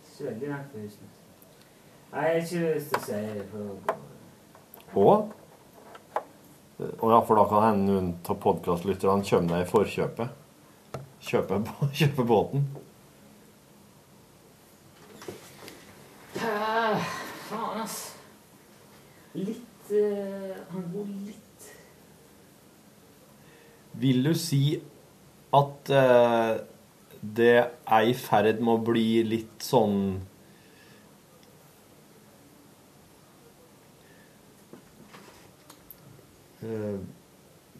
B: Ikke så veldig langt fra Husnes. Nei, jeg har ikke lyst til å si det. for...
C: Og? Og ja, for da kan hende noen av podkastlytterne kommer deg i forkjøpet. Kjøpe, <laughs> kjøpe båten.
B: Ah, faen, ass. Litt eh, Han går litt
C: Vil du si at eh, det er i ferd med å bli litt sånn eh,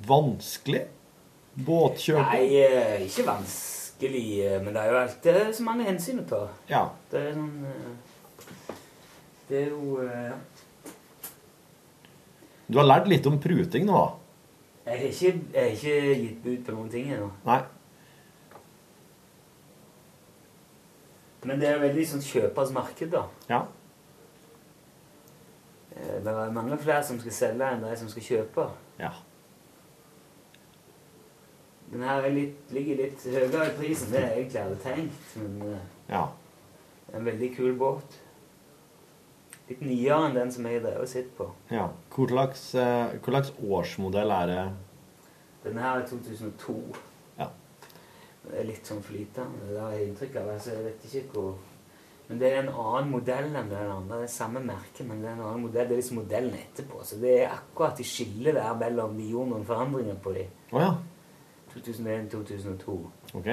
C: Vanskelig? Båtkjøping?
B: Nei, eh, ikke vanskelig, eh, men det er jo alt det som man er hensynet til.
C: Ja.
B: Det er sånn eh, Det er jo eh,
C: Du har lært litt om pruting nå, da?
B: Jeg har ikke, jeg har ikke gitt bud på noen ting ennå.
C: Nei.
B: Men det er veldig sånn kjøpers marked, da.
C: Ja.
B: Eh, Det er mange flere som skal selge enn de som skal kjøpe.
C: Ja.
B: Den her er litt, ligger litt høyere i pris enn det jeg egentlig hadde tenkt. Men eh,
C: Ja.
B: det er en veldig kul båt. Litt nyere enn den som jeg drev og sitter på.
C: ja. Hvor slags, eh, hvor slags årsmodell er det?
B: Den her er 2002.
C: Ja.
B: Det er litt sånn flytende. Det har jeg inntrykk av. Altså, jeg vet ikke hvor Men det er en annen modell enn den andre. Det er samme merke, men det er en annen modell. Det er liksom modellen etterpå. Så det er akkurat i skillet der mellom de gjorde noen forandringer på de.
C: Å ja.
B: 2001-2002.
C: OK.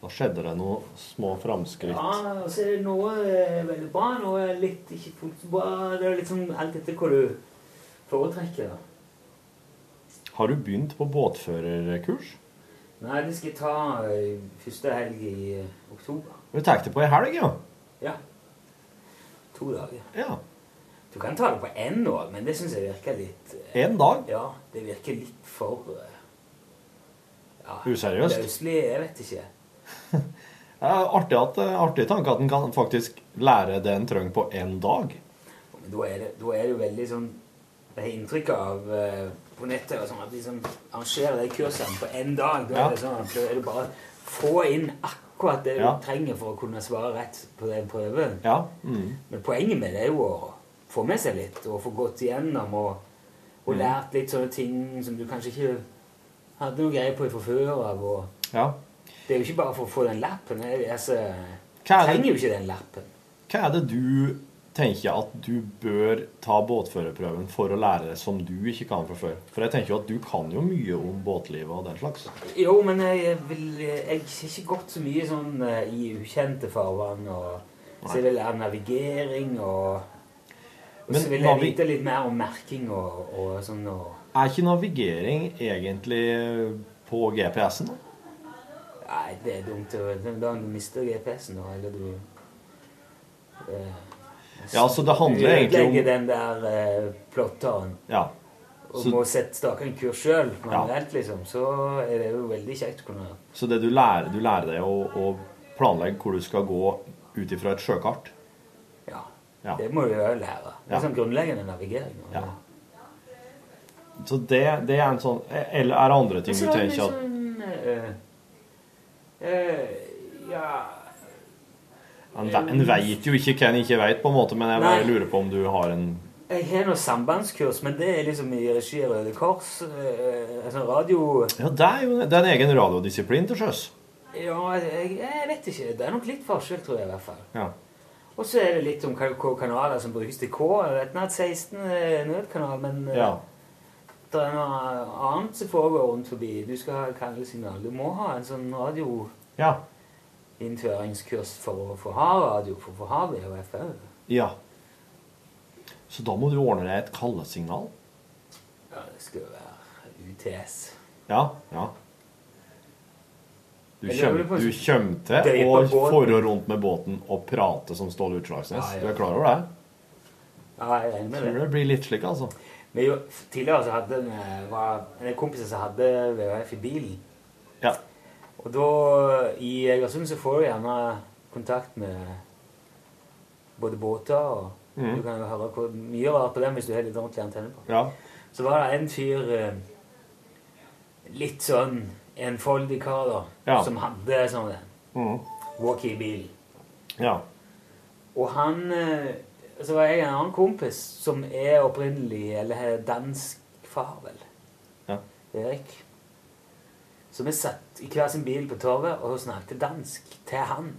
C: Da skjedde det noen små framskritt.
B: Ja, og så er det noe eh, veldig bra, noe er litt ikke fullt så bra. Det er liksom alt etter hva du foretrekker. da.
C: Har du begynt på båtførerkurs?
B: Nei, det skal jeg ta eh, første helg i eh, oktober.
C: Du tar det på ei helg, ja?
B: Ja. To dager.
C: Ja.
B: Du kan ta det på én òg, men det syns jeg virker litt eh,
C: En dag?
B: Ja, det virker litt for eh, ja,
C: Useriøst.
B: Løselig, jeg vet ikke.
C: Det er Eh, artig, at, artig tanke at en kan faktisk lære det en trenger på én dag.
B: Men da er det, da er det jo veldig sånn Jeg har inntrykk av eh, på nettet og sånn, at de som arrangerer de kursene på én dag, da
C: Ja.
B: er det sånn at da er det bare å få inn akkurat det du
C: Ja.
B: trenger for å kunne svare rett på den prøven.
C: Ja. Mm.
B: Men poenget med det er jo å få med seg litt, og få gått igjennom og, og
C: Mm.
B: lært litt sånne ting som du kanskje ikke hadde noe greie på fra før av. Og
C: ja.
B: det er jo ikke bare for å få den lappen. Jeg, altså, jeg
C: Hva er det-
B: trenger jo ikke den lappen.
C: Hva er det du tenker at du bør ta båtførerprøven for å lære som du ikke kan fra før? For jeg tenker jo at du kan jo mye om båtlivet og den slags.
B: Jo, men jeg vil Jeg har ikke gått så mye sånn eh, i ukjente farvann. Og, så jeg vil lære navigering og og
C: Men
B: så vil jeg
C: navi-
B: vite litt mer om merking og, og sånn. Og,
C: Er ikke navigering egentlig på GPS-en? da?
B: nei, det er dumt. å- Den dagen du mister GPS-en, da, eller du eh,
C: Ja, så det handler egentlig om-
B: Ødelegger den der eh, plotteren.
C: Ja.
B: Og
C: Så-
B: må sette stake en kurs sjøl manuelt, liksom. Så er det jo veldig kjekt å kunne
C: Så det du lærer, du lærer deg å, å planlegge hvor du skal gå ut ifra et sjøkart.
B: Ja.
C: Ja.
B: Det må du jo lære. Det
C: Ja.
B: er sånn grunnleggende navigering. og-
C: Så det, det er en sånn Eller er det andre ting
B: Men
C: du
B: så er det
C: tenker at
B: Altså, liksom, eh, eh, Ja
C: En, ve- en veit jo ikke hva en ikke veit, på en måte, men jeg bare
B: Nei.
C: lurer på om du har en
B: Jeg har noe sambandskurs, men det er liksom i regi av Røde Kors. eh, Altså radio
C: Ja, det er jo det er en egen radiodisiplin til sjøs.
B: Ja, jeg, jeg vet ikke. Det er nok litt forskjell, tror jeg i hvert fall.
C: Ja.
B: Og så er det litt om hva hva kanaler som brukes til K. Jeg vet at 16 er nødkanal, men eh,
C: Ja.
B: det er noe annet som foregår rundt forbi. Du skal ha kanalsignal. Du må ha en sånn radio...
C: Ja.
B: Innføringskurs for å få ha radio, for å få ha VHF òg.
C: ja. Så da må du ordne deg et kallesignal.
B: Ja, det skal jo være UTS.
C: Ja. ja. Du
B: Jeg lurer
C: kommer
B: på-
C: du kjem til
B: Døy
C: å
B: på båten.
C: fore rundt med båten og prate som Ståle Utslagsnes.
B: Ah, Ja, ja.
C: Du er klar over det?
B: Ja, jeg regner med
C: Tror det blir litt slik, altså.
B: Men jo, tidligere så hadde vi, var en kompis som hadde VHF i bilen.
C: Ja.
B: Og da, i Egersund, så får du gjerne kontakt med både båter og
C: Mhm.
B: Du kan jo høre hvor mye rart på dem hvis du har litt ordentlig antenne på.
C: Ja.
B: Så var det en fyr eh, Litt sånn enfoldig kar, da,
C: Ja.
B: som hadde sånn
C: Mhm.
B: walkie i bilen.
C: Ja.
B: Og han eh, Så var jeg en annen kompis som er opprinnelig Eller har dansk far, vel.
C: Ja.
B: Erik. Så vi satt i hver sin bil på torvet og snakket dansk til han.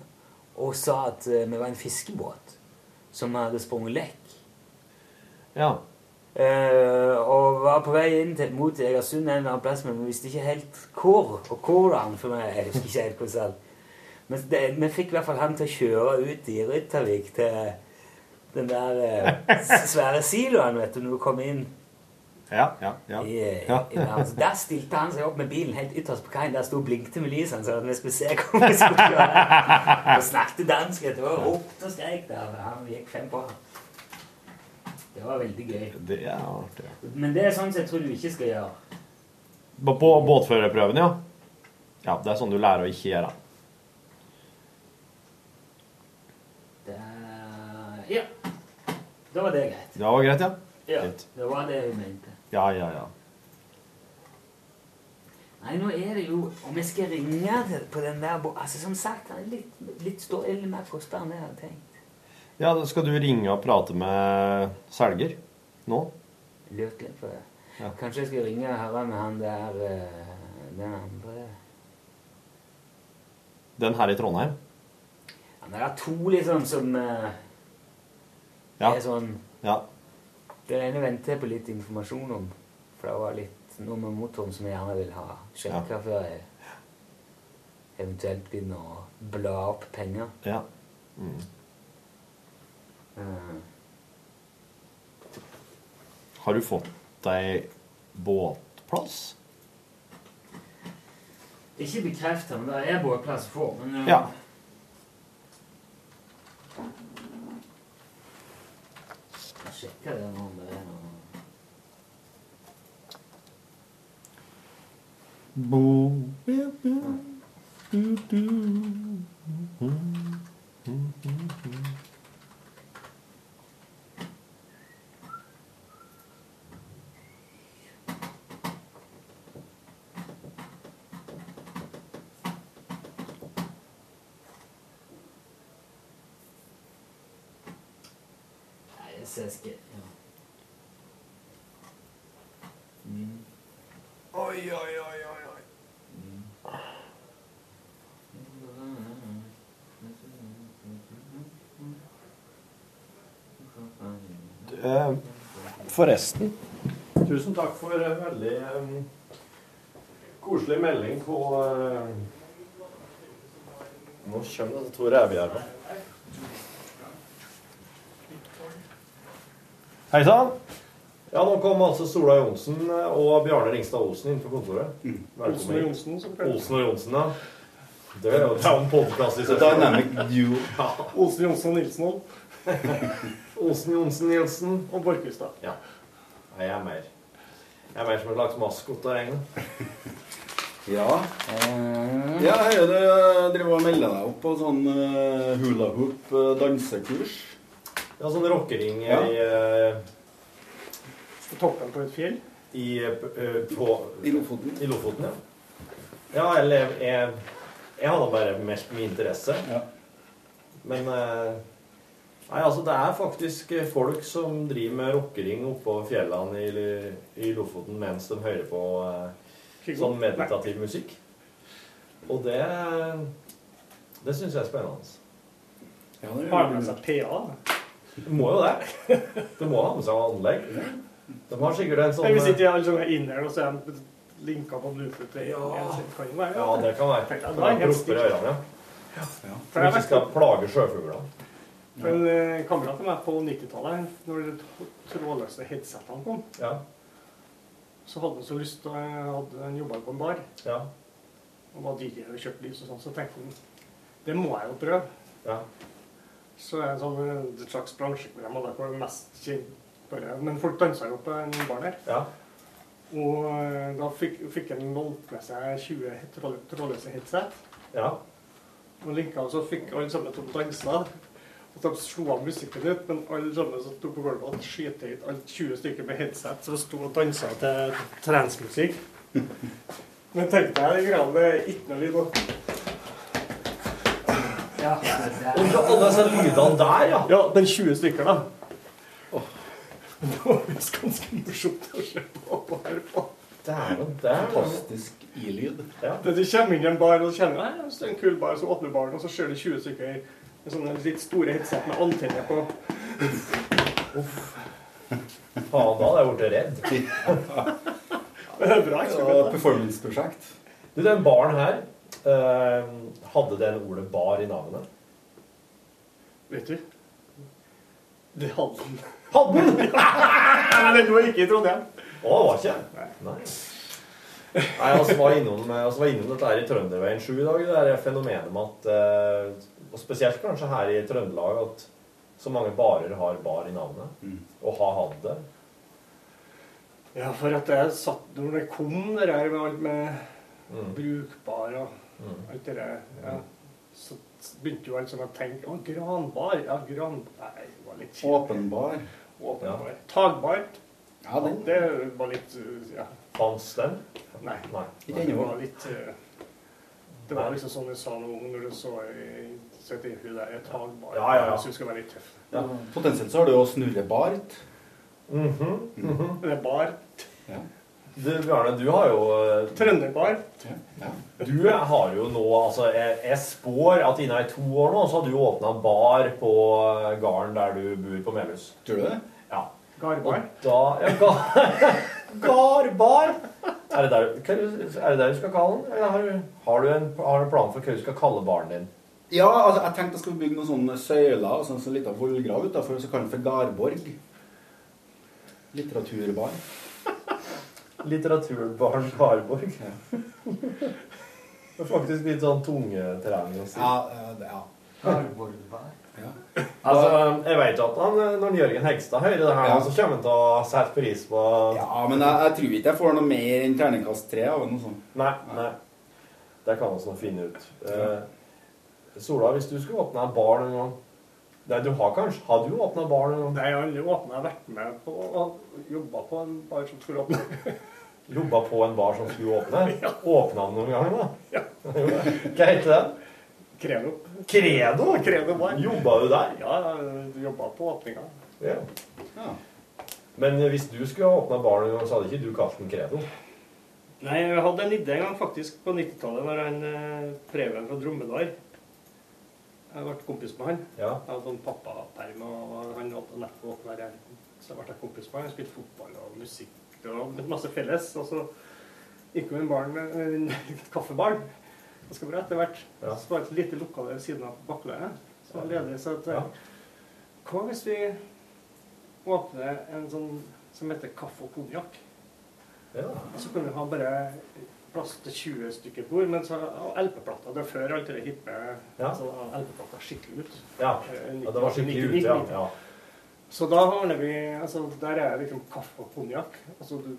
B: Og sa at eh, vi var en fiskebåt som hadde sprunget lekk.
C: Ja.
B: Eh, og var på vei inn til, mot Egersund en eller annen plass, men vi visste ikke helt hvor. Og hvordan, for meg, jeg husker ikke helt hvordan. Men det, vi fikk i hvert fall han til å kjøre ut i Ryttervik til den der
C: <laughs>
B: eh, s- svære siloen, vet du, når du kom inn.
C: Ja, ja, ja.
B: I, eh, i,
C: Ja.
B: verden. Så der stilte han seg opp med bilen helt ytterst på kaien. Der sto og blinkte med lysene, sånn at vi skulle se hvor vi skulle kjøre.
C: <laughs>
B: Og snakket dansk etterpå. og Ropte og skrek der. Han gikk fem på han. Det var veldig gøy.
C: Det er artig. ja.
B: Men det er sånn som jeg tror du ikke skal gjøre.
C: På på båtførerprøven, ja. Ja, Det er sånn du lærer å ikke gjøre.
B: Eh, ja. Da var det greit.
C: Det var greit, ja?
B: Ja, det var det jeg mente.
C: Ja, ja, ja.
B: Nei, nå er det jo Om jeg skal ringe til- på den der bo- Altså, Som sagt, han er litt, litt stor, eller mer kostbar enn jeg hadde tenkt.
C: Ja, da Skal du ringe og prate med selger nå?
B: Lurte litt på det.
C: Ja.
B: Kanskje jeg skal ringe og høre med han der eh, Den andre
C: Den her i Trondheim?
B: Han der er to, liksom, som eh,
C: Ja.
B: er sånn
C: Ja.
B: Den ene venter jeg på litt informasjon om. For det var litt noe med motoren som jeg gjerne vil ha sjekka før jeg eventuelt begynner å bla opp penger.
C: Ja. Mm.
B: Eh,
C: Har du fått deg båtplass?
B: Ikke bekrefta, men det er båtplass å få. Men, eh,
C: Ja.
B: jeg sjekker det nå om det er noe
C: Bo.
B: Nei, jeg ser ikke ja.
C: Oi, oi, oi, oi, oi. Eh, Forresten. Tusen takk for eh, veldig eh, koselig melding på eh, Nå kommer det to revejævler. Hei sann! Ja, nå kom altså Sola Johnsen og Bjarne Ringstad Olsen inn på kontoret. Velkommen.
M: Mm. Olsen og Johnsen, som kaller det.
C: Olsen og Johnsen, ja. Det er jo det er jo en podkast i seg
M: Dynamic
C: <laughs> duo.
M: <laughs> Olsen Johnsen og Nilsen òg.
C: Olsen, Johnsen, Nielsen og Borchhustad. Ja. Nei, jeg er mer Jeg er mer som en slags maskot av gjengen.
E: Ja.
C: eh,
E: Ja, her er det driver og melder deg opp på sånn eh, hula hoop eh, dansekurs.
C: Ja, sånn rockering
E: Ja.
C: i, eh,
M: På toppen på et fjell.
C: i, eh, på, I Lofoten. I Lofoten, ja. Ja, eller jeg, jeg, jeg hadde bare meldt min interesse. Men eh, Nei, altså, det er faktisk eh, folk som driver med rockering oppå fjellene i, i Lofoten mens de hører på eh, sånn meditativ musikk. Og det eh, Det syns jeg er spennende.
M: Har de med seg PA?
C: De må jo det. De må ha med seg anlegg. De har sikkert en sånn
M: Nei, Hvis ikke alle sånne er inne her, og så er de linka på Bluetooth Ja,
C: Ja, det kan være.
M: Tenk deg,
C: Kan være
M: det er helt
C: propper i
M: stilt.
C: ørene, ja.
M: For
C: For
M: det er
C: ikke skal plage sjøfuglene.
M: For En eh, kamerat av meg på 90-tallet, når de t- trådløse headsetene kom, så hadde han så lyst til å eh, hadde Han jobba på en bar. Og var DJ og kjøpte lys og sånn. Så tenkte han det må jeg jo prøve. Så er det en sånn, eh, et slags bransjeprogram, og derfor er det mest kjent bare. Men folk dansa jo på en bar der. Og eh, da fikk, fikk han valgt med seg 20 he- tråd- trådløse headset.
C: Ja.
M: Og linka, og så fikk alle sammen til å danse. Og de slo av musikken ut, men alle sammen som sto på gulvet, hadde skyte ut alt 20 stykker med headset som sto og dansa til transmusikk. Men tenk deg de greiene det er ikke noe lyd nå. Ja.
C: Og så alle disse lydene der, ja.
M: Ja, den 20 stykker, da. Det var visst ganske morsomt å se på og høre på.
C: Dæven, det er
E: Fantastisk i-lyd.
M: Det du kommer inn i en bar og kjenner «Nei, det er en kul bar, så åpner baren, og så ser du 20 stykker med sånne litt store headset med antenne på.
C: eh, Faen, da hadde jeg blitt redd.
M: Det er bra, ikke sant? Ja,
E: performanceprosjekt.
C: Du, den baren her, eh, hadde den ordet bar i navnet?
M: Vet du? Det hadde den.
C: Hadde den?
M: <laughs> Nei, den var ikke i Trondheim.
C: Å, det var ikke? Nei. Nei, altså, var innom, altså, var innom dette her i Trønderveien 7 i dag, det der fenomenet med at, eh, og spesielt kanskje her i Trøndelag, at så mange barer har bar i navnet, og har hatt det.
M: Ja, for at jeg satt når det kom det der med alt med
C: Mm.
M: brukbar og
E: Mm.
M: alt det der, ja. så begynte jo alle sånn å tenke Å, granbar. Ja, granbar Nei, det var litt kjipt.
E: Åpenbar.
M: Åpenbar. Tagbar. Ja, Det var litt uh, Ja.
C: Fanns den?
M: Nei.
E: Ikke
M: Det
E: ennå.
M: var litt uh, Det var liksom sånn jeg sa noe om når du så i- sett i hun der tagbar.
E: Ja, ja, ja.
M: Jeg synes det var litt tøff.
E: Ja. Potensielt så har du jo snurrebart.
M: Det er bar.
C: Du, Bjarne, du har jo eh,
M: Trønderbar.
C: Du har jo nå Altså, jeg, jeg spår at innen i to år nå så har du åpna bar på eh, gården der du bor på Melhus.
E: Tror du det?
C: Ja.
M: Garbar.
C: Da Ja, ga, <laughs> garbar! Er det, der, hva er det er det der du skal kalle den? Eller har du, har, du en, har du en plan for hva du skal kalle baren din?
E: Ja, altså, jeg tenkte jeg skulle bygge noen sånne søyler og sånn som lita vollgrav utafor, så kaller den for Garborg. Litteraturbar.
C: Litteraturbaren Garborg. <laughs> Det er faktisk litt sånn tungetrening å si.
E: Ja, eh, det- ja.
C: Altså, jeg vet at han, eh, når Jørgen Hegstad hører det her,
E: Ja.
C: så kommer han til å sette pris på
E: Ja, men jeg, jeg tror ikke jeg får noe mer enn terningkast tre av noe sånt.
C: Nei, nei. Det kan vi nå finne ut. Eh, Sola, hvis du skulle åpne en bar noen gang Nei, du har kanskje Har du åpna bar noen gang?
M: Nei, jeg har aldri åpna. Jeg har vært med på og jobba på en bar som skulle
C: <laughs>
M: åpne.
C: Jobba på en bar som skulle
M: <laughs>
C: åpne? Åpna den noen gang, da? <laughs> Jo. Hva heter den?
M: Kredo.
C: Credo?
M: Credo bar.
C: Jobba du der?
M: Ja, jeg jobba på åpninga.
C: Ja. Men eh, hvis du skulle ha åpna bar noen gang, så hadde ikke du kalt den Credo?
M: Nei, jeg hadde en idé en gang faktisk på 90-tallet, når han eh, Preben fra Dromedar Jeg ble kompis med han.
C: Ja.
M: Jeg hadde sånn pappaperm, og han hadde nettopp åpna reinen. Så jeg ble kompis med han. Jeg spilte fotball og musikk og hadde masse felles. Og så gikk vi i en barn, eh, en <laughs> kaffebarn. Det skal være etter hvert.
C: Ja.
M: Så var det et lite lokale ved siden av bakleiet. Så var ledig, så at, eh, Hva hvis vi åpner en sånn som heter kaffe og konjakk?
C: Ja.
M: Og så kan vi ha bare plass til 20 stykker kor, men så og LP-plata det er før alt det hippe
C: Ja.
M: så da LP-plata skikkelig ut.
C: Ja.
M: Eh,
C: Ja, det var skikkelig ut,
M: 1990.
C: ja. ja.
M: Så da ordner vi altså Der er liksom kaffe og konjakk. Altså du-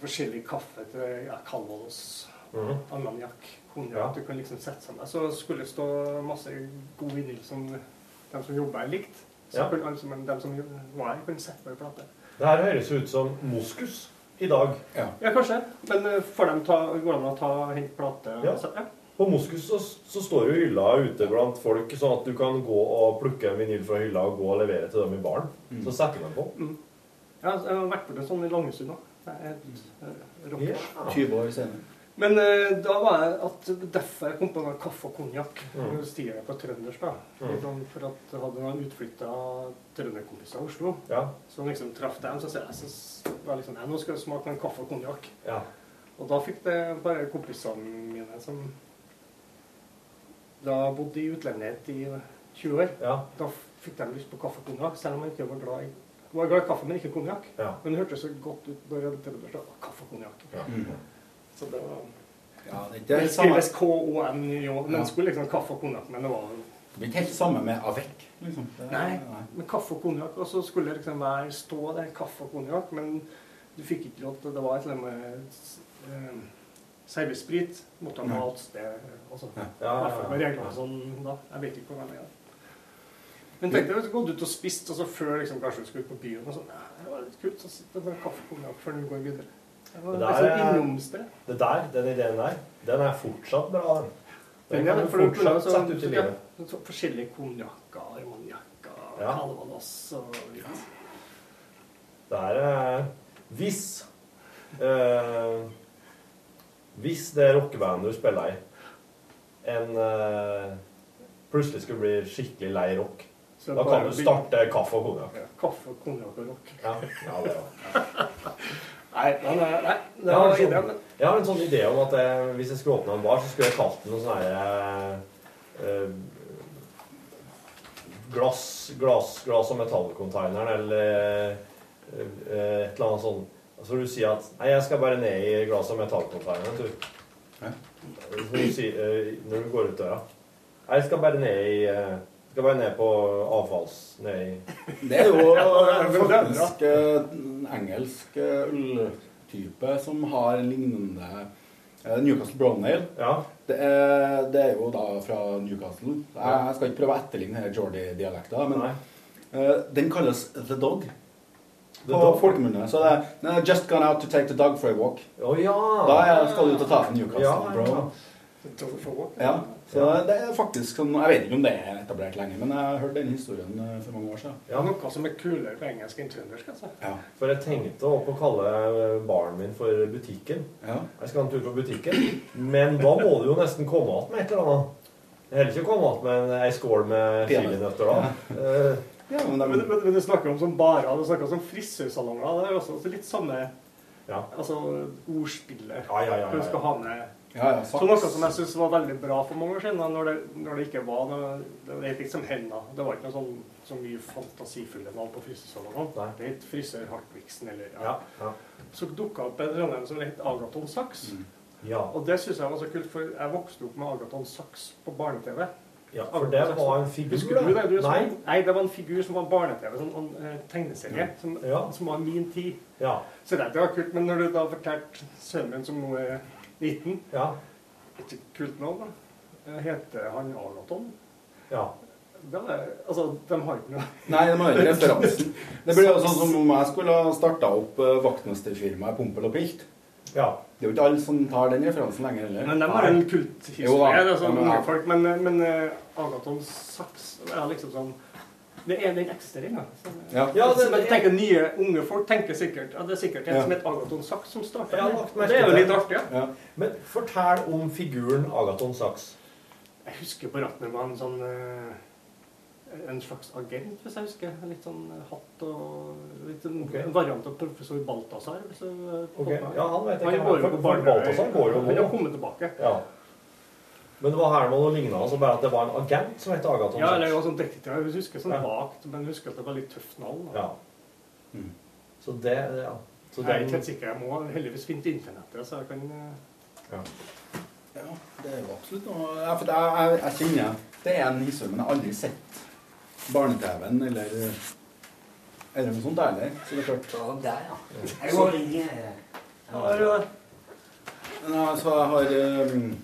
M: forskjellig kaffe til ja, Calvados,
C: Mhm.
M: ammoniakk, konjakk
C: Ja.
M: Du kan liksom sette sammen. Så skulle det stå masse god vinyl som de som jobber her, likte. Så
C: Ja.
M: kunne alle som, de som var her, kunne sette på en plate.
C: Det her høres ut som moskus i dag. Ja.
M: Ja, kanskje. Men eh, får dem ta, går det an å ta hente plate? og sette?
C: På Moskus så, så står jo hylla ute blant folk, sånn at du kan gå og plukke en vinyl fra hylla og gå og levere til dem i baren. Så setter de på.
M: Mm. Ja, jeg har vært borte sånn i Langesund òg. Det er helt eh, rocker.
E: 20 år senere.
M: Men eh, da var jeg at derfor jeg kom på den kaffe og konjakk.
E: Mm.
M: Nå stiger jeg på trøndersk, da.
E: Mm.
M: Liksom, For at jeg hadde noen utflytta trønderkompiser av Oslo. Så liksom traff dem, så sa jeg så var jeg liksom, «Nei, nå skal jeg smake på en kaffe og konjakk. Og da fikk det bare kompisene mine som da bodde i utlendighet i 20 år. Da fikk de lyst på kaffe og konjakk, selv om jeg ikke var glad i var glad i kaffe, men ikke konjakk.
C: Ja.
M: Men det hørtes så godt ut når jeg trøndersk. da. Kaffe og konjakk. Så det var
E: Ja, det er ikke
M: det
E: det samme.
M: skrives K-O-N-J.
E: Ja.
M: Den skulle liksom kaffe og konjakk, men det var
E: Det blir ikke helt det samme med avec. Liksom. Det er-
M: Nei, men kaffe og konjakk. Og så skulle det liksom være stå der kaffe og konjakk, men du fikk ikke lov til Det var et eller annet med eh, servicesprit. Måtte
E: Nei.
M: ha alt sted også.
E: Ja.
M: I hvert fall med reglene sånn da. Jeg vet ikke hvor veldig det er. Men tenk deg hvis du gått ut og spist, og så før liksom, kanskje du skulle ut på byen og sånn «Nei, Det var litt kult. Så sitter du med kaffe og konjakk før du går videre. Det var
C: Det der
M: liksom
C: er-
M: innomsted.
C: Det der, den ideen der, den er fortsatt bra. Den,
M: Den
C: den
M: er
C: kan
M: det,
C: du
M: for du kunne
C: fortsatt
M: også,
C: sette ut i
M: ja,
C: livet.
M: så sånn forskjellige konjakker, armoniakker,
C: Ja.
M: calvados og litt.
C: Det her er Hvis eh, Hvis det rockebandet du spiller i, en eh, plutselig skulle bli skikkelig lei rock,
M: Så
C: da
M: bare
C: kan du
M: bli-
C: starte kaffe og konjakk.
M: Kaffe, konjakk og rock.
C: Ja, ja, det er
M: <laughs> Nei, nei, nei, nei, det
C: Jeg har,
M: var
C: en
M: ideen.
C: sånn, jeg har en sånn idé om at jeg, hvis jeg skulle åpne en bar, så skulle jeg kalt den noe sånn her eh, glass, glass, glass og metallcontaineren eller eh, eh, et eller annet sånn. Så får du si at Nei, jeg skal bare ned i glass- og metallcontaineren, du. Så får du si, eh, når du går ut døra. Nei, jeg skal bare ned i eh, skal bare ned på avfalls... Ned i
E: Det er
C: <laughs>
E: jo
C: bra.
E: faktisk eh, en engelsk eh, øltype som har en lignende eh, Newcastle Brown Ale. Det, er, det er jo da fra Newcastle. Jeg, jeg skal ikke prøve å etterligne denne Geordie-dialekta, men eh, den kalles The Dog.
C: The
E: På
C: Dog?
E: folkemunne. Så det er no, Just gone out to take the dog for a walk. Da er, skal du ut og ta en Newcastle
C: Ja, ja.
E: Brown. Ja, så det er faktisk sånn Jeg vet ikke om det er etablert lenge, men jeg har hørt den historien eh, for mange år siden.
M: Ja, noe som er kulere på engelsk enn trøndersk, altså.
C: For jeg tenkte opp å kalle eh, baren min for butikken. Jeg skal ha en tur på butikken. Men da må du jo nesten komme att med et eller annet. Heller ikke komme att med en- ei skål med chilinøtter da. Eh,
E: men,
M: men, men du snakker om som barer, du snakker om som frisørsalonger. Det er jo også altså, litt samme altså, ordspillet.
C: Ja, ja, ja, ja,
M: Du skal
C: ja.
M: ha med
C: Ja, ja,
M: Så
C: saks.
M: noe som jeg syns var veldig bra for mange år siden, da, når det, når det ikke var noe Det, det gikk liksom henda. Det var ikke noe sånn så mye fantasifulle navn på frisørsalongene. Det het frisør Hartvigsen eller ja. Så dukka opp en Trondheim som het Agaton Saks.
C: Mm. ja.
M: Og det syns jeg var så kult, for jeg vokste opp med Agaton Saks på barne-TV.
C: Ja, for det
M: Agaton Sachs.
C: var en figur,
M: Husker du det? Du
C: da.
M: Nei.
C: Nei.
M: Nei, det var en figur som var barne-TV, sånn en eh, tegneserie, som, som var min tid. Så det, det var kult, men når du da fortalte sønnen min som nå er 19 Et kult navn, da. Eh, Heter han Agaton?
C: Ja.
M: Det er, altså, de har ikke noe
E: Nei, det må være referansen. Det blir jo sånn som om jeg skulle ha starta opp eh, vaktmesterfirmaet Pompel og Pilt. Det er jo ikke alle som tar den referansen lenger heller.
M: Men de har en kulthistorie.
E: Jo da,
M: det er sånn
E: men-
M: mange folk, men, men eh, Agaton Sachs er liksom sånn det er Den eksisterer ennå.
E: Ja.
M: ja,
C: det-
M: men tenker nye unge folk tenker sikkert at det er sikkert en
C: Ja.
M: som het Agaton Sachs som startet
C: Jeg har
M: den.
C: lagt
M: Og
C: merke
M: Det er jo
C: til
M: litt artig. ja.
C: Men fortell om figuren Agaton Sachs.
M: Jeg husker på rattet var en sånn eh, en slags agent, hvis jeg husker. Litt sånn hatt og litt en
C: Ok.
M: en variant av professor Balthazar. hvis jeg, eh,
C: Ok,
M: fått meg.
C: ja, han vet jeg ikke.
M: han går jo
C: For-
M: på
C: for
M: barnehagen.
C: Balthazar går jo nå.
M: Han har kommet tilbake.
C: Ja. Men det var her noe lignende, altså bare at det var en agent som het Agaton
M: Ja, eller
C: Sachs.
M: jeg var sånn detektiv. Jeg husker sånn
C: Ja.
M: vagt, men jeg husker at det var litt tøft navn. da.
C: Ja. Så det, ja. Så
E: Mm.
M: jeg er
C: den-
M: ikke helt sikker. Jeg må heldigvis finne internettet, så jeg kan eh,
E: Ja, det er jo absolutt noe ja, For jeg, jeg, jeg kjenner Det er en historie, men jeg har aldri sett barne-TV-en eller eller noe sånt ærlig. Så det er klart.
O: Ja, der, ja. Jeg går og ringer.
B: eh,
E: har Altså, jeg har um,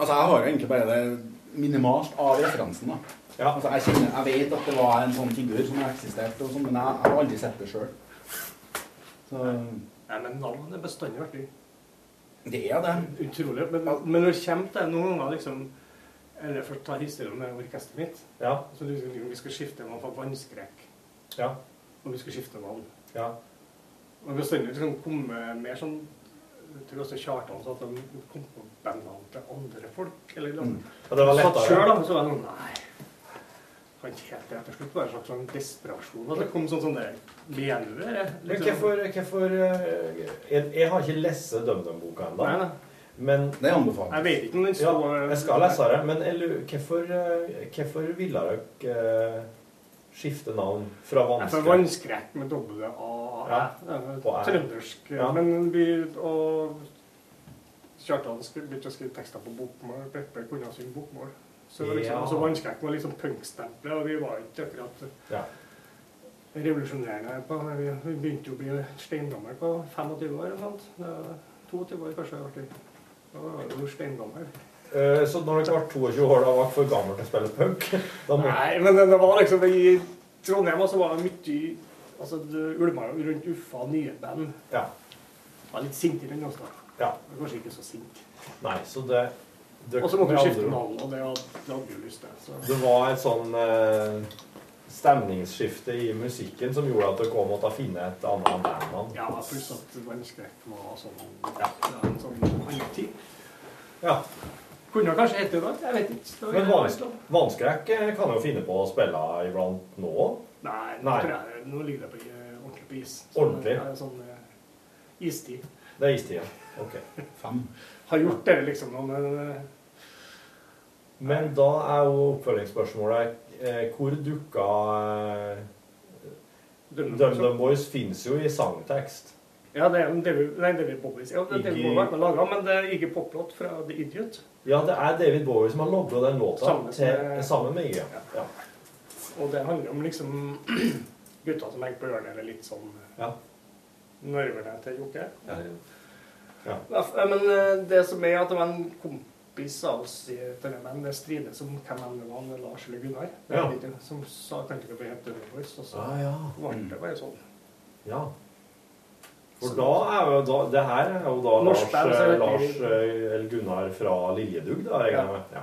E: Altså, jeg har jo egentlig bare det minimalt av referansen, da. Altså, jeg, kjenner, jeg vet at det var en sånn figur som eksisterte, og sånn, men jeg, jeg har aldri sett det sjøl.
M: Nei, men navnet er bestandig vært dyrt.
E: Det er det.
M: Utrolig. Men, men når det kommer til noen ganger liksom Eller først ta historien med orkesteret mitt.
C: Ja.
M: Så du, liksom, vi skal skifte navn fra vannskrekk.
C: Ja.
M: Og vi skal skifte navn.
C: Ja.
M: Og bestandig liksom komme mer sånn jeg tror også Kjartan sa at de kom på bandnavn til andre folk. Eller, noe.
C: Mm. Ja, det var
M: Satt
C: lettere.
M: selv, da, så var det sånn Nei. Kan ikke helt det. Til slutt var det en slags sånn desperasjon. At det kom sånn sånn der Mener du det?
C: Men hvorfor,
M: sånn-
C: hvorfor eh, jeg, jeg har ikke lest DumDum-boka ennå.
M: Nei, nei.
C: Men
E: Det anbefaler
M: Jeg vet ikke om den
C: ja,
M: står
C: Jeg skal lese det, men jeg lurer- hvorfor, eh, hvorfor ville dere eh, skifte navn fra
M: Nei, for
C: vanskelig
M: vannskrekk med doble A.
C: Ja,
M: Det er
C: på æ.
M: Trøndersk.
C: Ja.
M: Men vi og Kjartan skri- begynte å skrive tekster på bokmål. Peppe kunne synge bokmål. Så det var liksom,
C: Ja.
M: altså, vannskrekk var liksom punkstempelet, og vi var ikke akkurat
C: Ja.
M: revolusjonerende. På, vi, vi begynte jo å bli steingamle på 25 år. eller sant? Det var 22 år kanskje. jeg ble. Da var jeg jo steingammel.
C: Eh, Så når dere var 22 år, da var dere for gammel til å spille punk? <laughs> Da må...
M: Nei, men det, det var liksom I Trondheim også var det mye i- Altså, det ulma jo rundt Uffa nye band.
C: Ja.
M: Var litt sintere enn oss, da.
C: Ja.
M: Men Kanskje ikke så sint.
C: Nei, så det, det
M: Og så måtte
C: med
M: vi
C: andre
M: skifte
C: ord-
M: navn, og det hadde det hadde vi jo lyst til. Så.
C: Det var et sånn eh, stemningsskifte i musikken som gjorde at dere måtte finne et annet bandnavn.
M: Ja, pluss at vannskrekk var sånn ja, en sånn annen tid.
C: Ja.
M: Kunne kanskje hett det da, jeg vet ikke. Det var-
C: Men Vanskrekk eh, kan jo finne på å spille iblant nå òg.
M: Nei, nå,
C: Nei.
M: Tror jeg, nå ligger det på, eh, ordentlig på is.
C: Ordentlig?
M: Det er sånn eh, istid.
C: Det er istida. Ok.
M: <laughs> Har gjort det liksom nå, men eh,
C: Men da er jo oppfølgingsspørsmålet eh, Hvor dukka eh, DumDum Boys fins jo i sangtekst.
M: Ja, det er jo David, nei, David Bowie. Ja, det er David
C: Iggy-
M: Bowie har laget, men det er ikke poplåt fra The Idiot.
C: Ja, det er David Bowie som har logga den låta
M: Sammen
C: til,
M: med-
C: sammen med Iggy. Ja.
M: Og det handler om liksom <clears throat> gutta som henger på hjørnet, eller litt sånn
C: Ja.
M: nervene til Jokke.
C: Ja.
M: Ja, f- Men eh, det som er at det var en kompis av oss i Tønnemenn, det strides om hvem enn det var, om det var Lars eller Gunnar, det er
C: Ja.
M: ikke, som sa kan ikke bli helt David Boys, og så
C: Ah, ja.
M: ble det bare sånn.
C: ja. For da er jo da, Det her er jo da
M: Norsk band, altså, så er
C: Lars, eh,
M: det-
C: Lars eh, eller Gunnar fra Liljedugg, da, regner jeg med. Ja.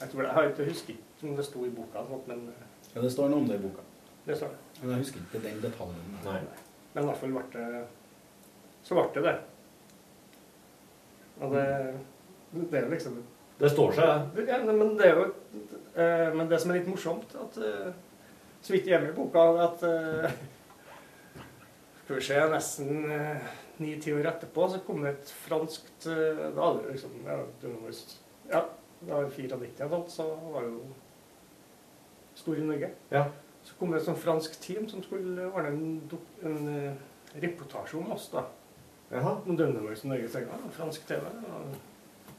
M: Jeg tror det, jeg har ikke husket om det sto i boka, eller noe, men eh,
E: Ja, det står noe om det i boka.
M: det står det.
E: Men jeg husker ikke den detaljen.
C: Nei.
M: Men i hvert fall ble det Så ble det det. Og det, det er jo liksom
C: Det står seg,
M: det. Ja, men det er jo eh, Men det som er litt morsomt, at eh, så vidt hjemme i boka, er at eh, Skal vi se, nesten eh, ni-ti år etterpå så kom det et franskt eh, Da hadde det liksom Ja, det var, ja, det var 94 eller noe, så var det jo stor i Norge.
C: Ja.
M: Så kom det et sånt fransk team som skulle ordne en, dok- en eh, reportasje om oss. da.
C: Jaha.
M: Om Dønnevågs og Norges England. og Fransk TV. og-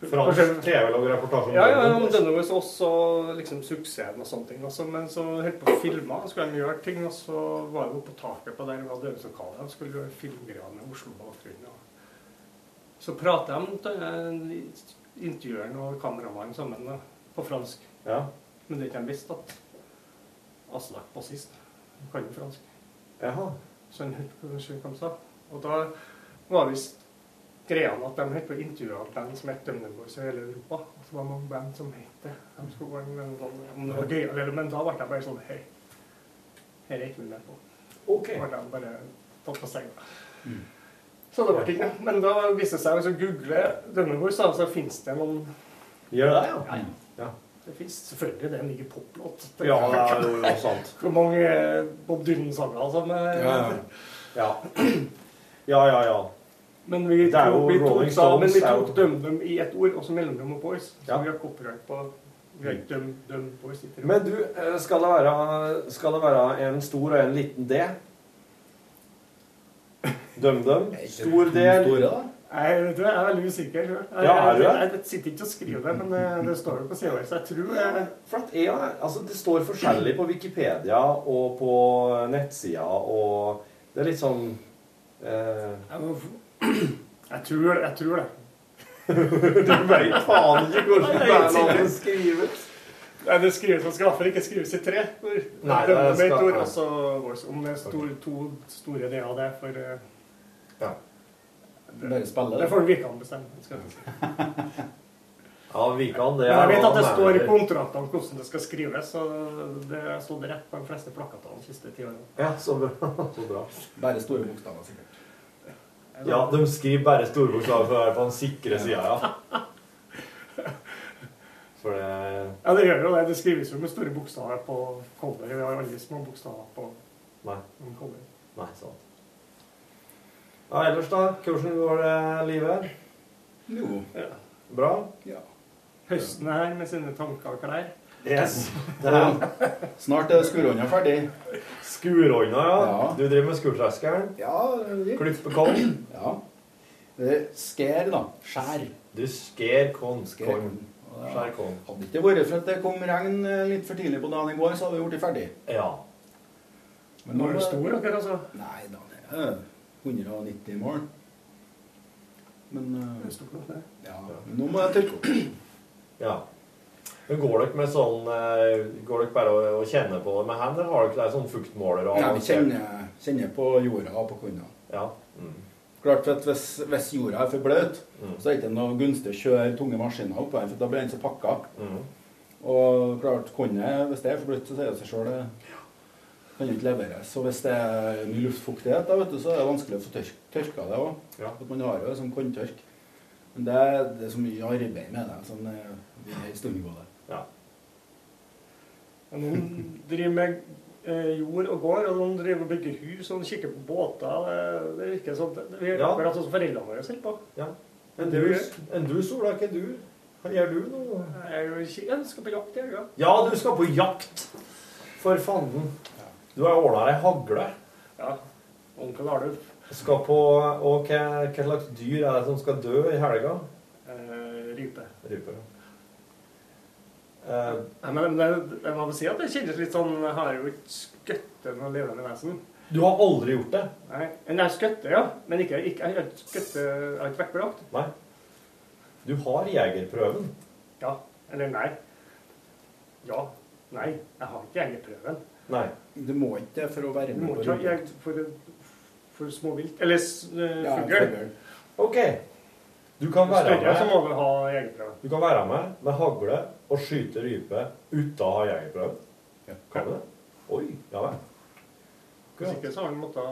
C: Fransk TV lager reportasje om
M: Ja, ja,
C: Dønnevågs.
M: om Dønnevågs og også liksom, suksessen og sånne ting. Også. Men så holdt på å filme, og skulle de gjøre ting, og så var det jo på taket på der det var døveslokalet. De skulle gjøre filmgreier med Oslo-bakgrunnen. og- Så prata de, eh, intervjueren og kameramannen sammen da, på fransk.
C: Ja.
M: Men det er ikke de visste at Aslak bassist kan jo fransk.
C: Jaha.
M: Så han hørte på hva han sa. Og da var visst greia at de holdt på å intervjue et band som het Dømneborgs i hele Europa. Og så var det noen band som het det. De skulle gå inn med en sånn, om det var gøy eller Men da ble jeg bare sånn Hei, dette er ikke vi med på.
C: Ok.
M: Da ble de bare tatt på senga.
C: Mm.
M: Så det ble ikke noe. Men da viste det seg, hvis du googler Dømneborgs, da, så altså finnes det noen
C: Gjør det, ja? ja.
M: det finnes selvfølgelig det er mye poplåt.
C: Ja, det er jo sant.
M: Hvor mange Bob Dylan-sanger som eh,
C: Ja, ja. Ja. Ja, ja, ja.
M: Men vi
C: Det er jo
M: tok, vi tok,
C: Rolling
M: da, men vi
C: Stones, det er jo-
M: tok døm dem i ett ord, og så mellomrom og boys. Så vi har copyright på vi har ikke døm, døm boys. i tre.
C: Men du, eh, skal det være, skal det være en stor og en liten D? DumDum. Stor
M: to
C: del.
M: store, da? Jeg, vet du, jeg er veldig usikker sjøl. Jeg,
C: Ja, er du
M: jeg,
C: det?
M: jeg, sitter ikke og skriver det, men det, det står jo på sida vår, så jeg tror eh, jeg,
C: For at jeg, altså Det står forskjellig på Wikipedia og på nettsida og Det er litt sånn eh,
M: jeg, tror, jeg tror det.
C: <laughs> Du veit faen ikke hvordan bandnavnet skrives.
M: Nei, det skrives, Man skal i hvert fall ikke skrives i tre ord.
C: Nei,
M: det,
C: det skal-
M: ord, altså, vår- om det er stor, to store deler av det, for eh,
E: Bare spille
M: det får Vikan bestemme. skal
C: <laughs>
M: jeg si.
C: Ja, Vikan, det
M: Men jeg vet
C: han
M: at det
C: er-
M: står i kontraktene hvordan det skal skrives, så det har stått rett på de fleste plakatene de siste ti årene.
C: Ja, så bra. <laughs> Så bra.
E: Bare store bokstaver, sikkert.
C: Ja, de skriver bare store bokstaver for å være på den sikre sida, ja. For det
M: Ja, det gjør jo det. Det skrives jo med store bokstaver på coveret. Vi har jo aldri små bokstaver på
C: Nei.
M: en cover.
C: Nei, sant. Ja, ellers, da? Hvordan går det livet?
E: Jo.
C: Bra?
M: Høsten er her med sine tanker og klær.
E: <laughs>
C: Yes.
E: Snart er skurhånda ferdig.
C: Skurhånda, ja. Du driver med skurtreskeren?
E: Ja.
C: Klippe korn?
E: Ja. Eh, Skær, da. Skjær.
C: Du skjer korn. Korn.
E: Ja.
C: Skjær korn.
E: Hadde ikke vært for at det kom regn eh, litt for tidlig på dagen i går, så hadde vi blitt ferdig.
C: Ja.
M: Men nå er du stor, dere, altså.
E: Nei da, det er eh, 190 mål. Men eh, ja, men nå må jeg tørke opp.
C: Ja. Men går dere med sånn eh, Går dere bare å, å kjenne på det med hendene? Har dere der sånn fuktmåler? og-
E: Nei, vi kjenner, kjenner på jorda og på korna.
C: Ja. Mm.
E: Klart for at hvis, hvis jorda er for bløt, så er det ikke noe gunstig å kjøre tunge maskiner oppå her, for da blir den så pakka.
C: Mm.
E: Og klart, kornet, hvis det er for bløtt, så sier det seg sjøl det kan jo ikke leveres. Og hvis det er mye luftfuktighet, da, vet du, så er det vanskelig å få tørk, tørka det òg. At Man har jo det som korntørk. Men det, er- det er så mye arbeid med det. Sånn, eh, vi er i stund på det.
C: Ja.
M: Og Noen driver med eh, jord og gård, og noen driver og bygger hus, og noen kikker på båter. Det, det virker sånn. Det, vi er
C: Ja.
M: akkurat sånn som foreldrene våre holder på.
C: Ja. Men du, enn du sola ikke du? Hva gjør du nå?
M: Jeg er jo ikke- jeg skal på jakt i helga.
C: Ja, du skal på jakt! For fanden. Du har ordna deg hagle.
M: Ja. Onkel Arnulf.
C: Skal på Og hva, hva slags dyr er det som skal dø i helga?
M: Eh, rype. Eh,
C: Rype.
M: Nei, men det, jeg må vel si at det kjennes litt sånn Jeg har jo ikke skutt noe levende vesen.
C: Du har aldri gjort det?
M: Nei. Men jeg skutter, ja. Men ikke, ikke, jeg har ikke skutt Jeg har ikke vært på jakt.
C: Nei. Du har jegerprøven.
M: Ja. Eller nei. Ja. Nei. Jeg har ikke jegerprøven.
C: Nei.
E: Du må ikke det for å være
M: Du
E: med
M: må
E: på
M: ikke ha
E: det.
M: jeg for, for småvilt. Eller uh,
E: Ja,
M: fugl.
E: fugl.
C: OK. Du kan være
M: Større så
C: med.
M: må du ha jegerprøve.
C: Du kan være med med hagle og skyte rype uten å ha jegerprøven. Kan du det? Oi. Ja vel.
M: Hvis ikke så har han måttet